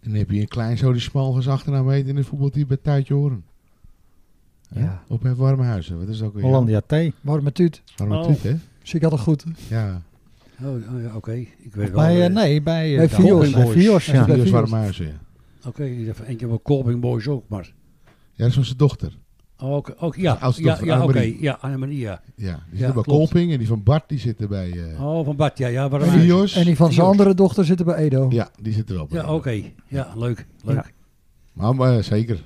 D: En dan heb je een klein zo die smalgens achternaam heet in het voetbalteam bij Tuitje Horen. Hè?
E: Ja.
D: Op het Warmehuizen. Wat is dat ook weer?
B: Hollandia thee.
F: Warme tuut.
D: Warme
C: Oh.
D: Tuut, hè?
F: Dus ik had het goed.
D: Ja.
C: Oh, oh, ja, oké. Ik weet wel.
B: Bij, eh,
C: eh,
B: nee, bij, eh,
F: bij
B: de
F: Fios.
B: Hobbing
F: Bij
B: Boys.
F: Fios, ja.
B: Ja.
D: Die
F: Bij
D: was
F: Fios.
D: Warmehuizen, ja.
C: Oké, ik dacht van, en ik heb wel Colbing Boys ook, maar...
D: Ja, dat is van zijn dochter.
C: Oh, oké, oké, ja,
D: De oudste
C: ja,
D: dochter,
C: ja, oké.
D: Annemarie.
C: Ja, Annemarie, ja.
D: Ja, die
C: Ja,
D: zit bij
C: klopt.
D: Kolping en die van Bart die zit er bij eh
C: Oh, van Bart, ja, ja. Waarom
D: Fios.
F: En die van zijn
C: Fios.
F: andere dochter zitten bij Edo.
D: Ja, die zit er wel bij.
C: Ja, oké. Ja, leuk, leuk.
E: Ja.
D: Maar, maar, eh, zeker.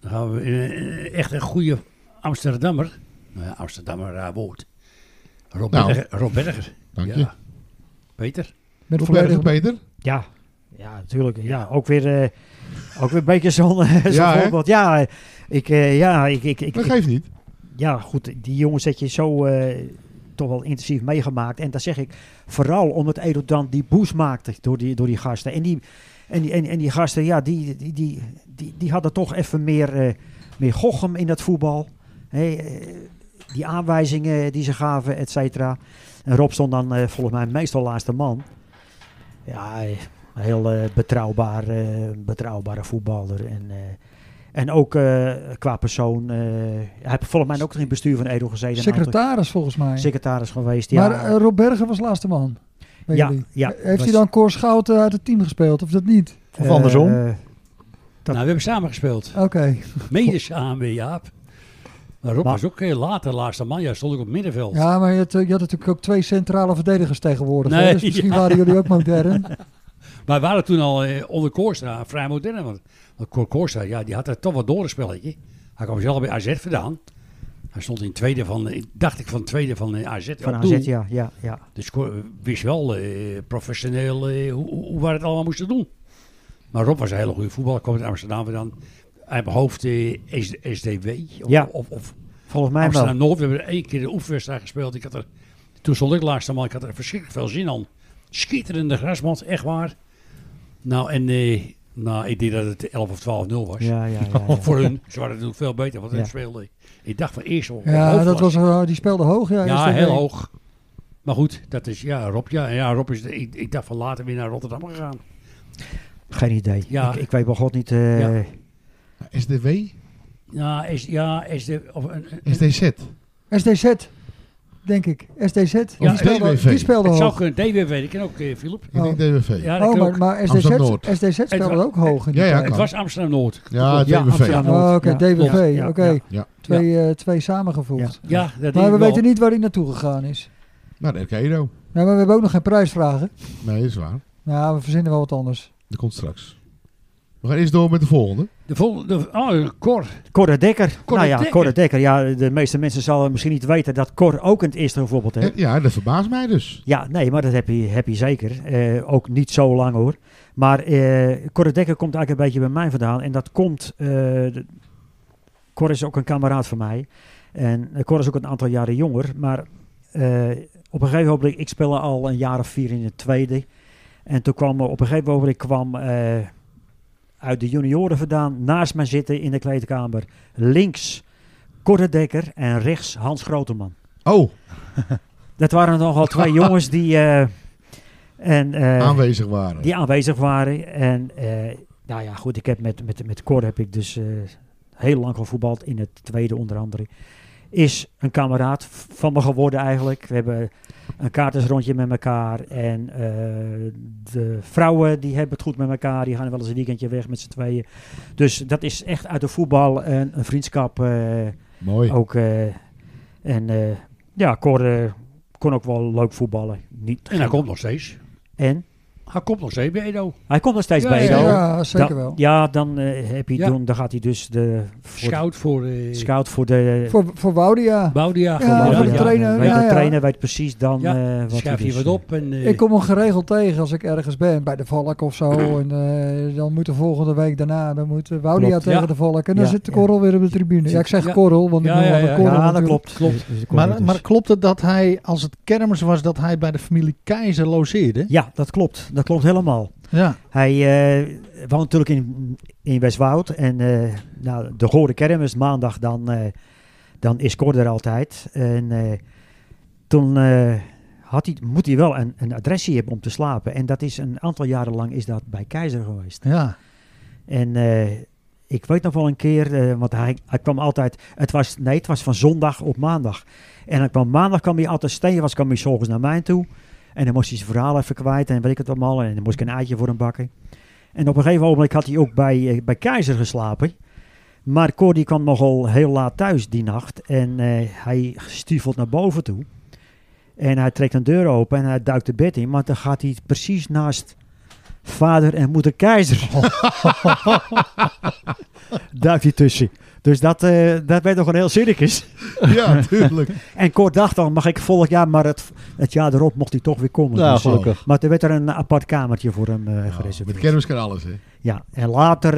C: Dan gaan we eh, echt een goede Amsterdammer. Nou ja, Amsterdammer, raar woord. Rob
D: Nou.
C: Berger. Rob Berger.
D: Dank je.
C: Ja. Peter?
F: Met
D: Hoe ben je,
F: volledige
D: Peter?
E: Ja, ja natuurlijk. Ja, ook weer, eh, ook weer een beetje [LAUGHS] zo'n eh, zo'n
D: Ja, hè?
E: voorbeeld. Ja, eh, ik, eh, ja, ik, ik, ik,
D: Dat
E: ik-
D: geeft niet.
E: ja, goed. Die jongens heb je zo eh, toch wel intensief meegemaakt. En daar zeg ik vooral omdat Edo dan die boost maakte door die, door die gasten. En die, en die, en, en die gasten, ja, die, die, die, die, die hadden toch even meer, eh, meer gochem in dat voetbal. Hé, eh, die aanwijzingen die ze gaven, et cetera. En Rob stond dan eh, volgens mij meestal laatste man. Ja, eh, een heel eh, betrouwbaar, eh, betrouwbare voetballer. En, eh, en ook eh, qua persoon. eh, hij heeft volgens mij ook nog in het bestuur van Edo gezeten. een aantal-
F: secretaris volgens mij.
E: secretaris geweest. Ja,
F: Maar eh, Rob Berger was laatste man. bij
E: ja,
F: jullie.
E: ja,
F: Heeft
E: was-
F: hij dan Cor Schouten uit het team gespeeld of dat niet?
B: Of andersom?
E: eh,
C: Nou, we hebben samen gespeeld.
F: Oké.
C: Mede samen, Jaap. Maar Rob
E: Maar-
C: was ook eh, later laatste man. Ja, stond ik op het middenveld.
F: Ja, maar je had, eh, je had natuurlijk ook twee centrale verdedigers tegenwoordig. hè?
C: Nee,
F: Dus misschien
C: ja.
F: waren jullie ook modern.
C: Wij waren toen al eh, onder Koorstra vrij modern. Want, want Cor Koorstra, ja, die had er toch wat door een spelletje. Hij kwam zelf bij AZ vandaan. Hij stond in tweede van, eh, dacht ik, van tweede van eh, AZ.
E: van
C: op
E: AZ,
C: doel.
E: ja, ja, ja.
C: Dus Cor wist wel eh, professioneel eh, hoe, hoe hoe wij het allemaal moesten doen. Maar Rob was een hele goede voetballer. Kwam uit Amsterdam vandaan. Uit mijn hoofd eh, S- SDW. Of,
E: Ja.
C: of, of
E: Volgens mij wel.
C: Amsterdam Noord. We hebben er één keer de oefenwedstrijd gespeeld. Ik had er, toen stond ik laatste man. Ik had er verschrikkelijk veel zin aan. Schitterende grasmat, echt waar. Nou, en eh, nou, ik deed dat het 11 of 12-0 was.
E: Ja, ja, ja.
F: [LAUGHS]
E: ja.
C: Voor hun, ze waren natuurlijk veel beter. Want hun
E: Ja.
C: speelden. Ik dacht van eerst op
F: Ja,
C: hoofdklasse.
F: dat was, eh, die speelde hoog. Ja,
C: Ja,
F: SDW.
C: heel hoog. Maar goed, dat is ja, Rob. Ja, ja Rob is, de- ik, ik dacht van later weer naar Rotterdam gegaan.
E: Geen idee.
C: Ja.
E: Ik, ik weet bij god niet. eh,
C: Ja.
D: SDW?
C: Ja, is, ja, is de, of eh, een, een-
D: SDZ?
F: SDZ, denk ik. SDZ. die, speelde,
D: DWV.
F: die speelde
C: het zou
F: hoog.
C: kunnen. DWW, dat ken ook, eh, Philip.
D: Ik denk DWV. Ja,
C: Ja, dat
F: Oh,
C: kan
F: maar,
C: ook.
F: maar SDZ,
D: Amsterdam-Noord.
F: SDZ speelde
C: Het-
F: ook hoog in die
D: Ja, ja,
F: tijd.
C: Het
D: kan.
C: was Amsterdam-Noord.
D: DWV.
E: Amsterdam.
F: Oh, Oké,
E: Ja.
F: DWV.
E: Ja.
F: Oké,
E: Ja.
D: Ja.
F: twee, eh, twee samengevoegd.
C: Ja, dat
F: Maar we
C: is wel-
F: weten niet waar hij naartoe gegaan is.
D: Naar RK Edo.
F: Nou, maar we hebben ook nog geen prijsvragen.
D: Nee, dat is waar.
F: Nou, we verzinnen wel wat anders.
D: Dat komt straks. We gaan eerst door met de volgende.
C: De volgende, oh, Cor.
E: Corre Dekker.
C: Cor
E: nou ja,
C: Dekker.
E: Corre Dekker. Ja, de meeste mensen zullen misschien niet weten dat Cor ook in het eerste bijvoorbeeld heeft.
D: Ja, dat verbaast mij dus.
E: Ja, nee, maar dat heb je, heb je zeker. Eh, ook niet zo lang hoor. Maar eh Corre Dekker komt eigenlijk een beetje bij mij vandaan. En dat komt... eh de- Cor is ook een kameraad van mij. En eh, Cor is ook een aantal jaren jonger. Maar eh, op een gegeven moment... Ik speel al een jaar of vier in de tweede. En toen kwam er- op een gegeven moment... kwam eh, uit de junioren vandaan... naast mij zitten in de kleedkamer. Links Corre Dekker en rechts Hans Groteman.
D: Oh,
E: Dat waren nogal twee jongens die, eh, en, eh,
D: aanwezig waren.
E: die aanwezig waren. En eh, nou ja, goed, ik heb met, met, met Cor heb ik dus eh, heel lang gevoetbald in het tweede onder andere. Is een kameraad v- van me geworden eigenlijk. We hebben een kaartensrondje met elkaar. En eh, de vrouwen die hebben het goed met elkaar. Die gaan wel eens een weekendje weg met z'n tweeën. Dus dat is echt uit de voetbal een, een vriendschap eh,
D: Mooi.
E: ook, eh, en eh, ja, Cor eh, kon ook wel leuk voetballen. Niet
C: En hij komt nog steeds.
E: en?
C: Hij komt nog steeds bij Edo.
E: Hij komt nog steeds
C: Ja,
E: bij
C: ja,
E: Edo.
F: Ja, zeker
E: Dan-
F: wel.
E: Ja, dan eh, heb je
C: Ja.
E: doen, dan gaat hij dus de voor de-
C: Scout voor eh
E: scout voor de
F: Voor, voor Woudia.
C: Boudia.
F: Ja,
E: Woudia.
F: voor de trainer.
E: weet
F: Ja,
E: de
F: ja.
E: trainer weet precies dan
C: Ja,
E: eh, wat
C: Schrijf
E: hij
C: hier
E: dus,
C: wat op. En, eh,
F: Ik [LAUGHS] kom hem geregeld tegen als ik ergens ben, bij de Valk of zo. En eh, dan moet de volgende week daarna, dan moet eh, Woudia
E: Klopt,
F: tegen
C: ja.
F: de Valk. En dan
E: Ja,
F: zit de
E: ja.
F: korrel weer op de tribune. Ja, ik zeg
C: Ja.
F: korrel, want ik
C: Ja,
F: noem
C: ja,
F: hem
C: ja.
E: eh,
F: korrel
E: Ja, dat
F: natuurlijk.
E: klopt.
C: Klopt.
E: Dus- dus dat
B: Maar,
E: komt dus.
B: maar klopt het dat hij, als het kermis was, dat hij bij de familie Keizer logeerde?
E: Ja, dat klopt. Dat klopt helemaal.
B: Ja.
E: Hij eh, woont natuurlijk in, in Westwoud. En eh, nou, de Gore Kermis, maandag, dan, eh, dan is Cor er altijd. En eh, toen eh, had hij, moet hij wel een, een adresje hebben om te slapen. En dat is een aantal jaren lang is dat bij Keizer geweest.
B: Ja.
E: En eh, ik weet nog wel een keer, eh, want hij, hij kwam altijd, het was, nee, het was van zondag op maandag. En dan kwam maandag kwam hij altijd steen, was kwam hij 's ochtends naar mij toe. En dan moest hij zijn verhaal even kwijt en weet ik het allemaal. En dan moest ik een eitje voor hem bakken. En op een gegeven moment had hij ook bij, eh, bij Keizer geslapen. Maar Cor die kwam nogal heel laat thuis die nacht. En eh, hij stiefelt naar boven toe. En hij trekt een deur open en hij duikt de bed in. Maar dan gaat hij precies naast vader en moeder keizer. Duikt hij tussen. Dus dat, eh, dat werd nog een heel circus.
D: [LAUGHS] Ja, tuurlijk.
E: [LAUGHS] En Kort dacht al, mag ik volgend jaar, maar het, het jaar erop mocht hij toch weer komen.
D: Nou,
E: Dus, eh,
D: gelukkig. Nou,
E: Maar er werd er een apart kamertje voor hem eh,
D: Met
E: gereserveerd.
D: kermis kan alles, hè?
E: Ja, en later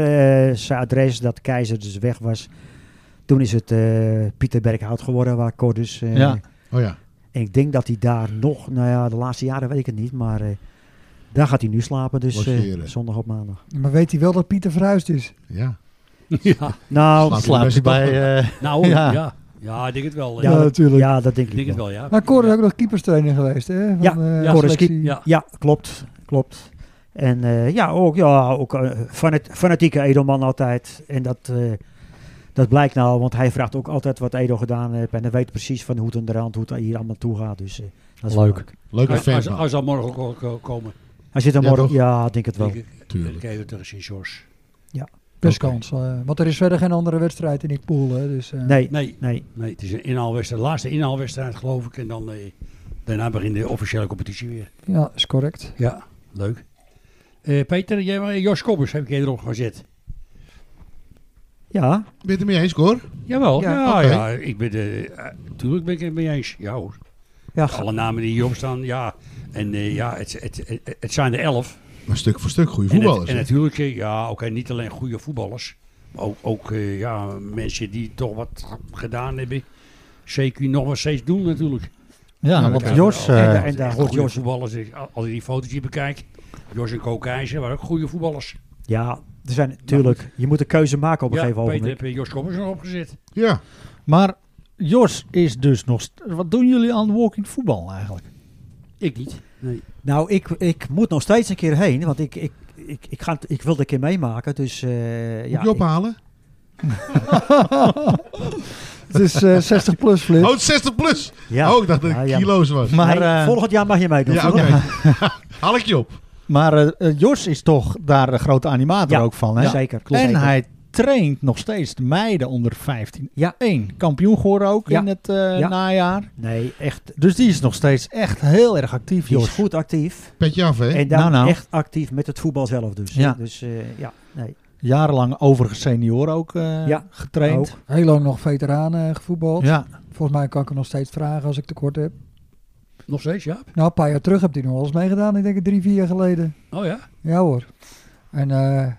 E: eh, zijn adres dat Keizer dus weg was. Toen is het eh, Pieter Berghout geworden, waar Cor dus... eh,
A: Ja.
D: Oh ja.
E: En ik denk dat hij daar nog, nou ja, de laatste jaren weet ik het niet, maar eh, daar gaat hij nu slapen. Dus eh,
D: Logeren.
E: zondag op maandag.
F: Maar weet hij wel dat Pieter verhuisd is?
D: Ja.
C: Ja,
E: Nou,
D: Slaap
B: Slaapt hij bij... eh
C: nou ja.
B: Ja.
C: ja. ik denk het wel.
E: Ja,
C: Ja,
F: Ja,
E: dat-
F: natuurlijk.
E: ja, dat denk
C: ik
E: ik,
C: denk het
E: wel.
C: wel, ja.
F: Maar Cor is ook nog keeperstrainer geweest, hè? Van,
E: Ja,
F: eh,
C: ja,
E: Cor is
F: selectie.
C: Ja.
E: Ja, klopt, klopt. En eh, ja, ook, ja, ook eh, fanat- fanatieke Edelman altijd. En dat, eh, dat blijkt nou, want hij vraagt ook altijd wat Edel gedaan heeft. En hij weet precies van hoe het aan de rand, hoe het hier allemaal toe gaat. Dus eh, dat is wel
A: Leuk.
D: Leuke
C: Hij-
D: fan
C: Hij
D: van.
C: zal- hij zal morgen ook wel ko- komen.
E: Hij zit er
D: Ja,
E: morgen.
D: toch?
E: Ja, ik denk het wel.
C: Ik ik- ik
D: Tuurlijk.
C: even tegen Sint George.
F: Best
D: Oké.
F: kans. eh, want er is verder geen andere wedstrijd in die pool, hè? Dus, eh,
E: Nee,
C: Nee,
E: nee.
C: nee, het is een inhaalwedstrijd. De laatste inhaalwedstrijd geloof ik. En dan eh, daarna begint de officiële competitie weer.
F: Ja, is correct.
C: Ja, leuk. Eh, Peter, jij, eh, Jos Kobbers heb ik je erop gezet.
E: Ja,
D: Ben je het ermee eens, Cor?
C: Jawel, ja, oh ja,
D: oké.
C: ik ben de, natuurlijk ben ik het mee eens. Ja hoor.
E: ja.
C: Alle namen die hierop staan, ja. En eh, ja, het, het, het, het zijn er elf.
D: Maar stuk voor stuk goede
C: En, het-
D: voetballers.
C: en
D: hè?
C: natuurlijk, eh, ja, oké, niet alleen goede voetballers. Maar ook, ook eh, ja, mensen die toch wat gedaan hebben. Zeker nog wat steeds doen natuurlijk.
A: Ja,
C: Ja,
A: want Jos... eh,
E: En- en daar hoort
C: goede
E: Jos-
C: voetballers. Ik- Als ik die foto's bekijk. Jos en Kookijzer waren ook goede voetballers.
E: ja er zijn natuurlijk. Je moet een keuze maken op een
C: ja,
E: gegeven
C: Peter,
E: moment.
C: heb je Jos Koppers erop gezet?
D: Ja.
A: maar Jos is dus nog... st- Wat doen jullie aan walking voetbal eigenlijk?
C: Ik niet. Nee.
E: Nou, ik, ik moet nog steeds een keer heen, want ik, ik, ik, ik, ga, het- ik wil het een keer meemaken. Dus eh,
D: Moet
E: ja,
D: je ophalen?
F: Het is eh, 60 plus flip.
D: Oh, 60 plus!
E: ik- ja.
D: Oh, ik dacht dat
E: Ja,
D: het
E: ja.
D: kilo's was.
A: Maar,
E: Nee,
A: eh,
E: volgend jaar mag je meedoen.
D: Ja, oké. [LAUGHS] Haal ik je op.
A: maar eh, eh, Jos is toch daar de grote animator
E: Ja,
A: ook van, hè?
E: Zeker. klopt.
A: en
E: Zeker.
A: hij traint nog steeds de meiden onder 15.
E: Ja.
A: 1. Kampioen geworden ook
E: Ja.
A: in het eh,
E: Ja.
A: najaar.
E: Nee, echt.
A: Dus die is nog steeds echt heel erg actief,
E: Die is
A: Jos.
E: goed actief.
D: Petje af,
C: Eh,
D: hè?
E: En dan
A: Nou, nou.
E: echt actief met het voetbal zelf dus.
A: Ja.
E: Dus eh, ja, nee.
A: Jarenlang overigens senioren ook eh,
E: Ja,
A: getraind.
E: Ook.
F: Heel lang nog veteranen eh, gevoetbald.
A: Ja,
F: Volgens mij kan ik hem nog steeds vragen als ik tekort heb.
C: Nog steeds, Jaap?
F: Nou, een paar jaar terug heb hij nog wel eens meegedaan. Ik denk het drie, vier jaar geleden.
C: Oh ja?
F: Ja hoor. En eh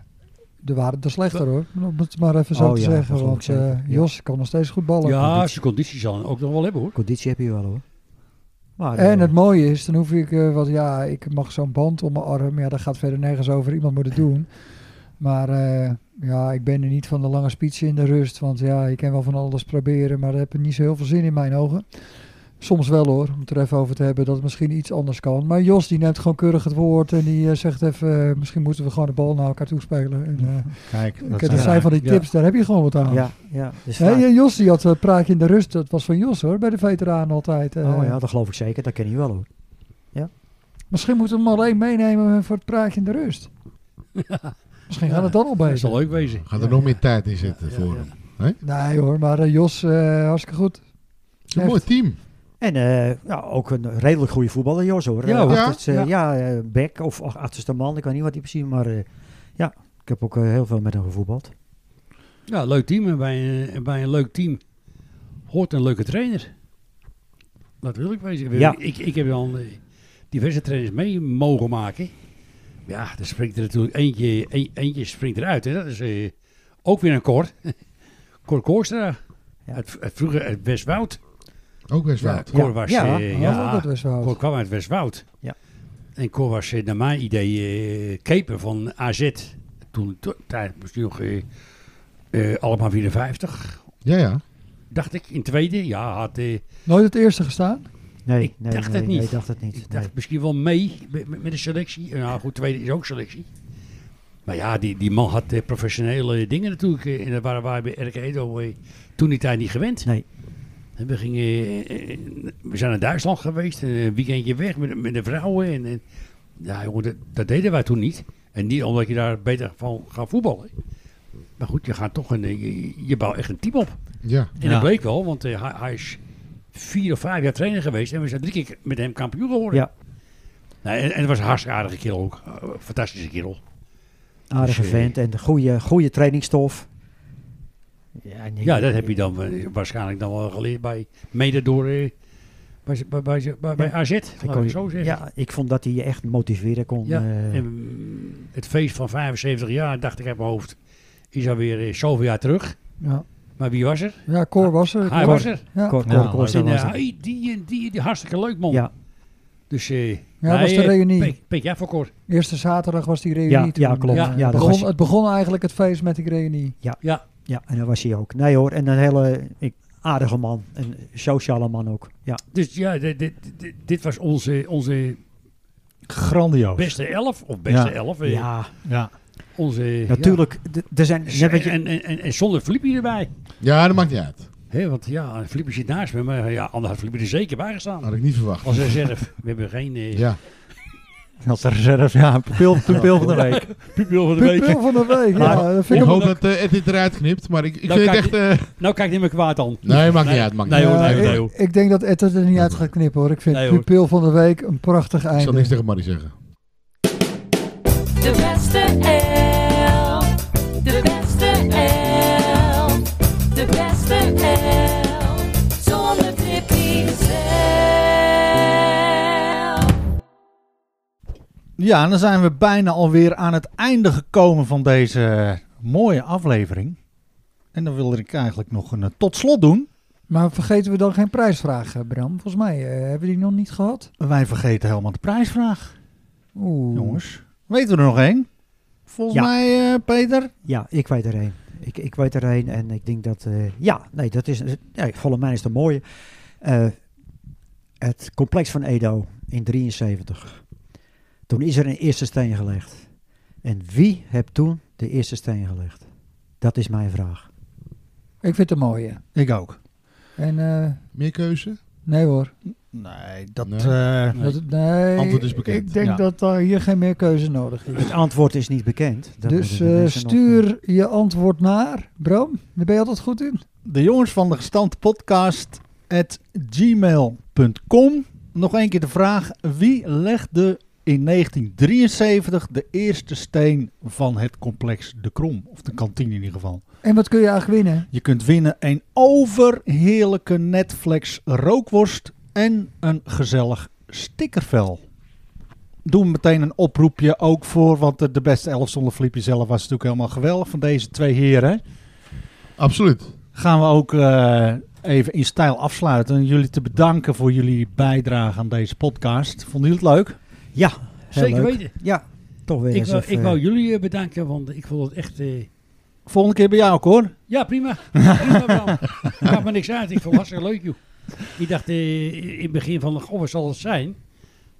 F: de waren er slechter hoor. Om het maar even zo
E: Oh
F: te
E: ja, dat
F: zeggen.
E: geloof
F: Want
E: ik zeker.
F: eh,
E: Ja.
F: Jos kan nog steeds goed ballen.
C: Ja, zijn conditie zal hij ook nog wel hebben hoor.
E: Conditie heb je wel hoor. Maar,
F: En
E: eh,
F: het mooie is, dan hoef ik eh, wat, ja, ik mag zo'n band om mijn arm. Ja, dat gaat verder nergens over.
E: [LAUGHS]
F: Iemand moet het doen. Maar eh, ja, ik ben er niet van de lange speech in de rust. Want ja, je kan wel van alles proberen, maar daar heb ik niet zo heel veel zin in mijn ogen. Soms wel hoor, om het er even over te hebben dat het misschien iets anders kan. Maar Jos die neemt gewoon keurig het woord en die eh, zegt even, eh, misschien moeten we gewoon de bal naar elkaar toespelen. En, eh,
A: kijk.
F: dat,
A: Dat eh, zijn,
F: zijn van die
C: ja.
F: tips, daar heb je gewoon wat aan.
E: ja, ja, dus
F: Hè,
E: vaak-
F: Jos die had eh, praatje in de rust, dat was van Jos hoor, bij de veteranen altijd. eh.
E: Oh ja, dat geloof ik zeker. Dat ken je wel hoor.
F: Misschien moeten we hem alleen meenemen eh, voor het praatje in de
C: [LAUGHS]
F: rust. Misschien gaat het dan al
C: Dat
F: beter.
C: zal leuk wezen.
D: Gaat er nog meer tijd in zitten voor hem.
F: Nee hoor, maar eh, Jos, eh, hartstikke goed.
D: Het is een mooi team.
E: En eh, ja, ook een redelijk goede voetballer, Jos hoor.
C: Ja,
E: Eh,
C: hoor.
E: achterste-
F: Ja.
E: ja, eh, back of ach- achterste man. Ik weet niet wat hij precies, maar eh, ja, ik heb ook eh, heel veel met hem gevoetbald.
C: Ja, leuk team. En bij, eh, en bij een leuk team hoort een leuke trainer. Dat wil ik wezen.
E: Ja.
C: Ik, ik heb al eh, diverse trainers mee mogen maken. Ja, er springt er natuurlijk eentje, een- eentje springt eruit. Hè. Dat is eh, ook weer een Cor. [LAUGHS] Cor Koorstra.
E: Ja.
C: Het, het vroeger uit Westwoud.
D: Ook best wel.
C: Cor was...
E: Ja.
C: eh,
F: Oh,
C: ja.
F: dat was wel.
C: Cor kwam uit Westwoud.
E: Ja.
C: En Cor was eh, naar mijn idee eh keeper van AZ. Toen to- tijd was hij nog eh, eh, allemaal 54,
D: Ja, ja.
C: dacht ik. In tweede, ja, had, eh,
F: Nooit het eerste gestaan?
E: Nee,
C: Ik
E: nee,
C: dacht
E: nee,
C: het
E: nee,
C: niet.
E: ik dacht het niet.
C: ik dacht misschien wel mee met, met- met de selectie. Eh, Nou goed, tweede is ook selectie. Maar ja, die, die man had eh, professionele dingen natuurlijk. eh, en dat waren wij bij RK Edo eh, toen die tijd niet gewend.
E: Nee.
C: En we, gingen, eh, eh, we zijn naar Duitsland geweest, eh, een weekendje weg met, met de vrouwen. En, en, ja, jongen, dat, dat deden wij toen niet. En niet omdat je daar beter van gaat voetballen. Maar goed, je gaat toch een, eh, je, je bouwt echt een team op.
D: Ja.
C: En
A: Ja.
C: dat bleek wel, want eh, hij, hij is vier of vijf jaar trainer geweest en we zijn drie keer met hem kampioen geworden.
E: Ja.
C: Nee, en, en het was een hartstikke aardige kerel ook. Eh, Fantastische kerel.
E: Aardige
C: Jee.
E: vent en de goede, goede trainingsstof. Ja, en ik-
C: Ja, dat heb je dan eh, waarschijnlijk dan wel geleerd bij mede door eh, bij, bij, bij, bij, bij
E: Ja.
C: AZ,
E: ik
C: laat ik
E: kon-
C: het zo zeggen.
E: ja, ik vond dat hij je echt motiveren kon.
C: Ja,
E: eh,
C: En, mm, het feest van 75 jaar, dacht ik uit mijn hoofd, is alweer eh, zoveel jaar terug.
F: Ja,
C: Maar wie was er?
F: ja Cor was er.
C: Ah, Hij was er.
F: Ja,
E: Cor- Cor-
A: Ja,
E: Cor-
C: En,
E: Cor- was
C: eh,
E: er.
C: hey, die en die, die, hartstikke leuk man.
E: Ja,
C: Dus, eh
F: Ja, dat was de reunie.
C: Peek, jij voor kort.
F: Eerste zaterdag was die reunie.
E: ja,
F: toen.
E: ja, klopt.
C: Ja,
E: Ja,
F: Het
E: dat
F: begon,
E: was,
F: het begon eigenlijk het feest met die reunie.
E: ja, en dat was hij ook. Nee hoor, en een hele ik, aardige man. Een sociale man ook. Ja,
C: Dus ja, dit, dit, dit- dit was onze, onze
A: Grandioos.
C: beste elf, of beste
A: Ja.
C: elf. eh,
E: ja
A: Ja.
C: Onze, ja.
E: natuurlijk. d- Er zijn, net wat je-
C: En, en, en, en zonder Flippy erbij.
D: Ja, dat maakt niet uit.
C: Hé, want ja, Flippy zit naast me, maar ja, anders had Flippy er zeker bij gestaan.
D: Had ik niet verwacht.
C: Als reserve. We hebben geen eh
D: Oh. Ja.
A: Als de reserve, ja, pupil, pupil van de week.
C: pupil van de week.
F: Pupil van de week, ja. Dat
D: Ik
F: vind ik
D: hoop dat eh, Ed dit eruit knipt, maar ik, ik
C: Nou,
D: vind het
C: kijk,
D: echt... eh,
C: Nou, kijk niet meer kwaad dan.
D: Nee, maakt niet uit, maakt
C: nee,
D: niet
C: hoor,
D: uit.
C: nee, hoor,
F: Ja, Eh, ik-
C: nee, hoor.
F: Ik denk dat Ed het er niet uit gaat knippen hoor. Ik vind
C: Nee, hoor.
F: Pupil van de Week een prachtig
D: Ik zal
F: einde.
D: niks tegen Marie zeggen.
I: De beste L. De beste L. De beste L. Zonder Pippi zelf.
A: Ja, en dan zijn we bijna alweer aan het einde gekomen van deze mooie aflevering. En dan wilde ik eigenlijk nog een eh, tot slot doen.
F: Maar vergeten we dan geen prijsvraag, eh, Bram? Volgens mij eh, hebben we die nog niet gehad.
A: Wij vergeten helemaal de prijsvraag,
F: Oeh.
A: jongens. Weten we er nog één? Volgens
E: Ja.
A: mij, eh, Peter.
E: Ja, ik weet er een. Ik, ik weet er een en ik denk dat... eh, ja, nee, dat is... Nee, volgens mij is het een mooie. Eh, het complex van Edo in 73. Toen is er een eerste steen gelegd. En wie heeft toen de eerste steen gelegd? Dat is mijn vraag.
F: Ik vind het een mooie.
A: Ik ook.
F: En eh,
D: Meer keuze?
F: nee hoor.
A: Nee, dat...
D: Nee.
A: eh,
C: Nee.
F: Dat, nee.
D: Antwoord is bekend.
F: Ik denk
A: Ja.
F: dat daar hier geen meer keuze nodig is.
E: Het antwoord is niet bekend. [LAUGHS] Dat
F: dus
E: moeten de
F: eh,
E: mensen nog, eh,
F: stuur je antwoord naar, Bram. Daar ben je altijd goed in.
A: de jongens van de gestand podcast at gmail.com. Nog één keer de vraag. Wie legde in 1973 de eerste steen van het complex De Krom? Of de kantine in ieder geval.
F: En wat kun je eigenlijk winnen?
A: Je kunt winnen een overheerlijke Netflix rookworst en een gezellig stickervel. Doe meteen een oproepje ook voor, want de- de beste elf zonder Flippy zelf was natuurlijk helemaal geweldig van deze twee heren.
D: Absoluut.
A: Gaan we ook eh, even in stijl afsluiten. Jullie te bedanken voor jullie bijdrage aan deze podcast. Vonden jullie het leuk?
E: Ja, heel
C: Zeker
E: leuk.
C: weten.
E: Ja, toch weer
C: Ik
E: eens
C: wou,
E: even,
C: ik wou jullie eh, bedanken, want ik vond het echt... eh,
A: Volgende keer bij jou ook hoor.
C: ja, prima. prima
F: [LAUGHS]
C: Bram. Maakt me niks uit. Ik vond het hartstikke leuk, joh. Ik dacht eh, in het begin van, goh, wat zal het zijn?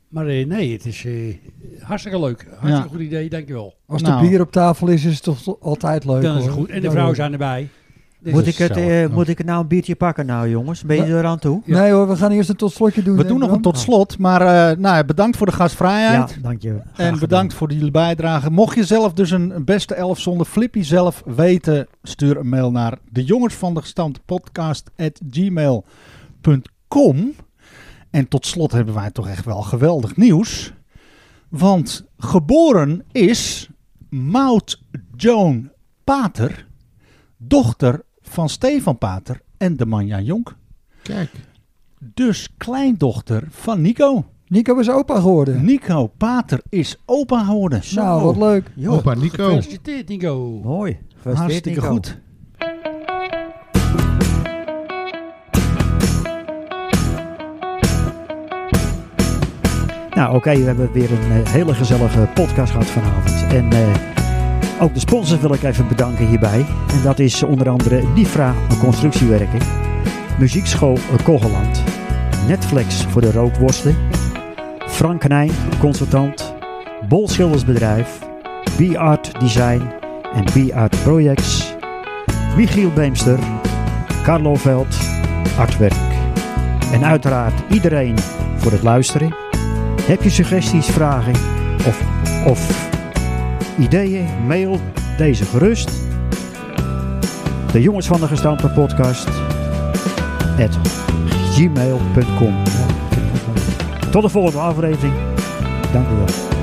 C: Maar eh, nee, het is eh, hartstikke leuk. Hartstikke
A: Ja.
C: goed idee, dankjewel.
F: Als
A: Nou.
F: de bier op tafel is, is het toch to- altijd leuk
C: Dan is het
F: hoor.
C: goed. En de
F: Ja,
C: vrouwen
F: hoor.
C: zijn erbij. Dus
E: Moet ik, het, eh,
A: Gezellig.
E: moet ik nou een biertje pakken nou jongens? Ben je er aan toe?
C: Ja.
F: Nee hoor, we gaan eerst een tot slotje doen.
A: We
F: hè,
A: doen nog
F: Bram?
A: een tot slot, maar eh, nou, ja, bedankt voor de gastvrijheid.
E: Ja, dank je. Graag
A: En
E: gedaan.
A: bedankt voor jullie bijdrage. Mocht je zelf dus een beste elf zonder Flippy zelf weten, stuur een mail naar de jongens van de gestampte podcast at gmail.com. En tot slot hebben wij toch echt wel geweldig nieuws. Want geboren is Maud Joan Pater, dochter van Stefan Pater en de Manja Jonk.
D: Kijk.
A: Dus kleindochter van Nico.
F: Nico is opa geworden.
A: Nico Pater is opa geworden.
F: Nou, wat leuk.
E: Jo,
D: Opa
F: Oh.
D: Nico.
C: Gefeliciteerd, Nico.
E: Mooi. Gefeliciteerd,
A: Hartstikke
E: Nico.
A: goed.
E: Nou, oké, we hebben weer een eh, hele gezellige podcast gehad vanavond. En eh, ook de sponsors wil ik even bedanken hierbij. En dat is onder andere Nifra Constructiewerken, Muziekschool Kogeland, Netflix voor de rookworsten, Frank Knijn, consultant, Bol Schildersbedrijf, B-Art Design en B-Art Projects, Michiel Beemster, Carlo Veld, Artwerk. En uiteraard iedereen voor het luisteren. Heb je suggesties, vragen of, of ideeën? Mail deze gerust. De jongens van de gestampte podcast at gmail.com. Tot de volgende aflevering. dank u wel.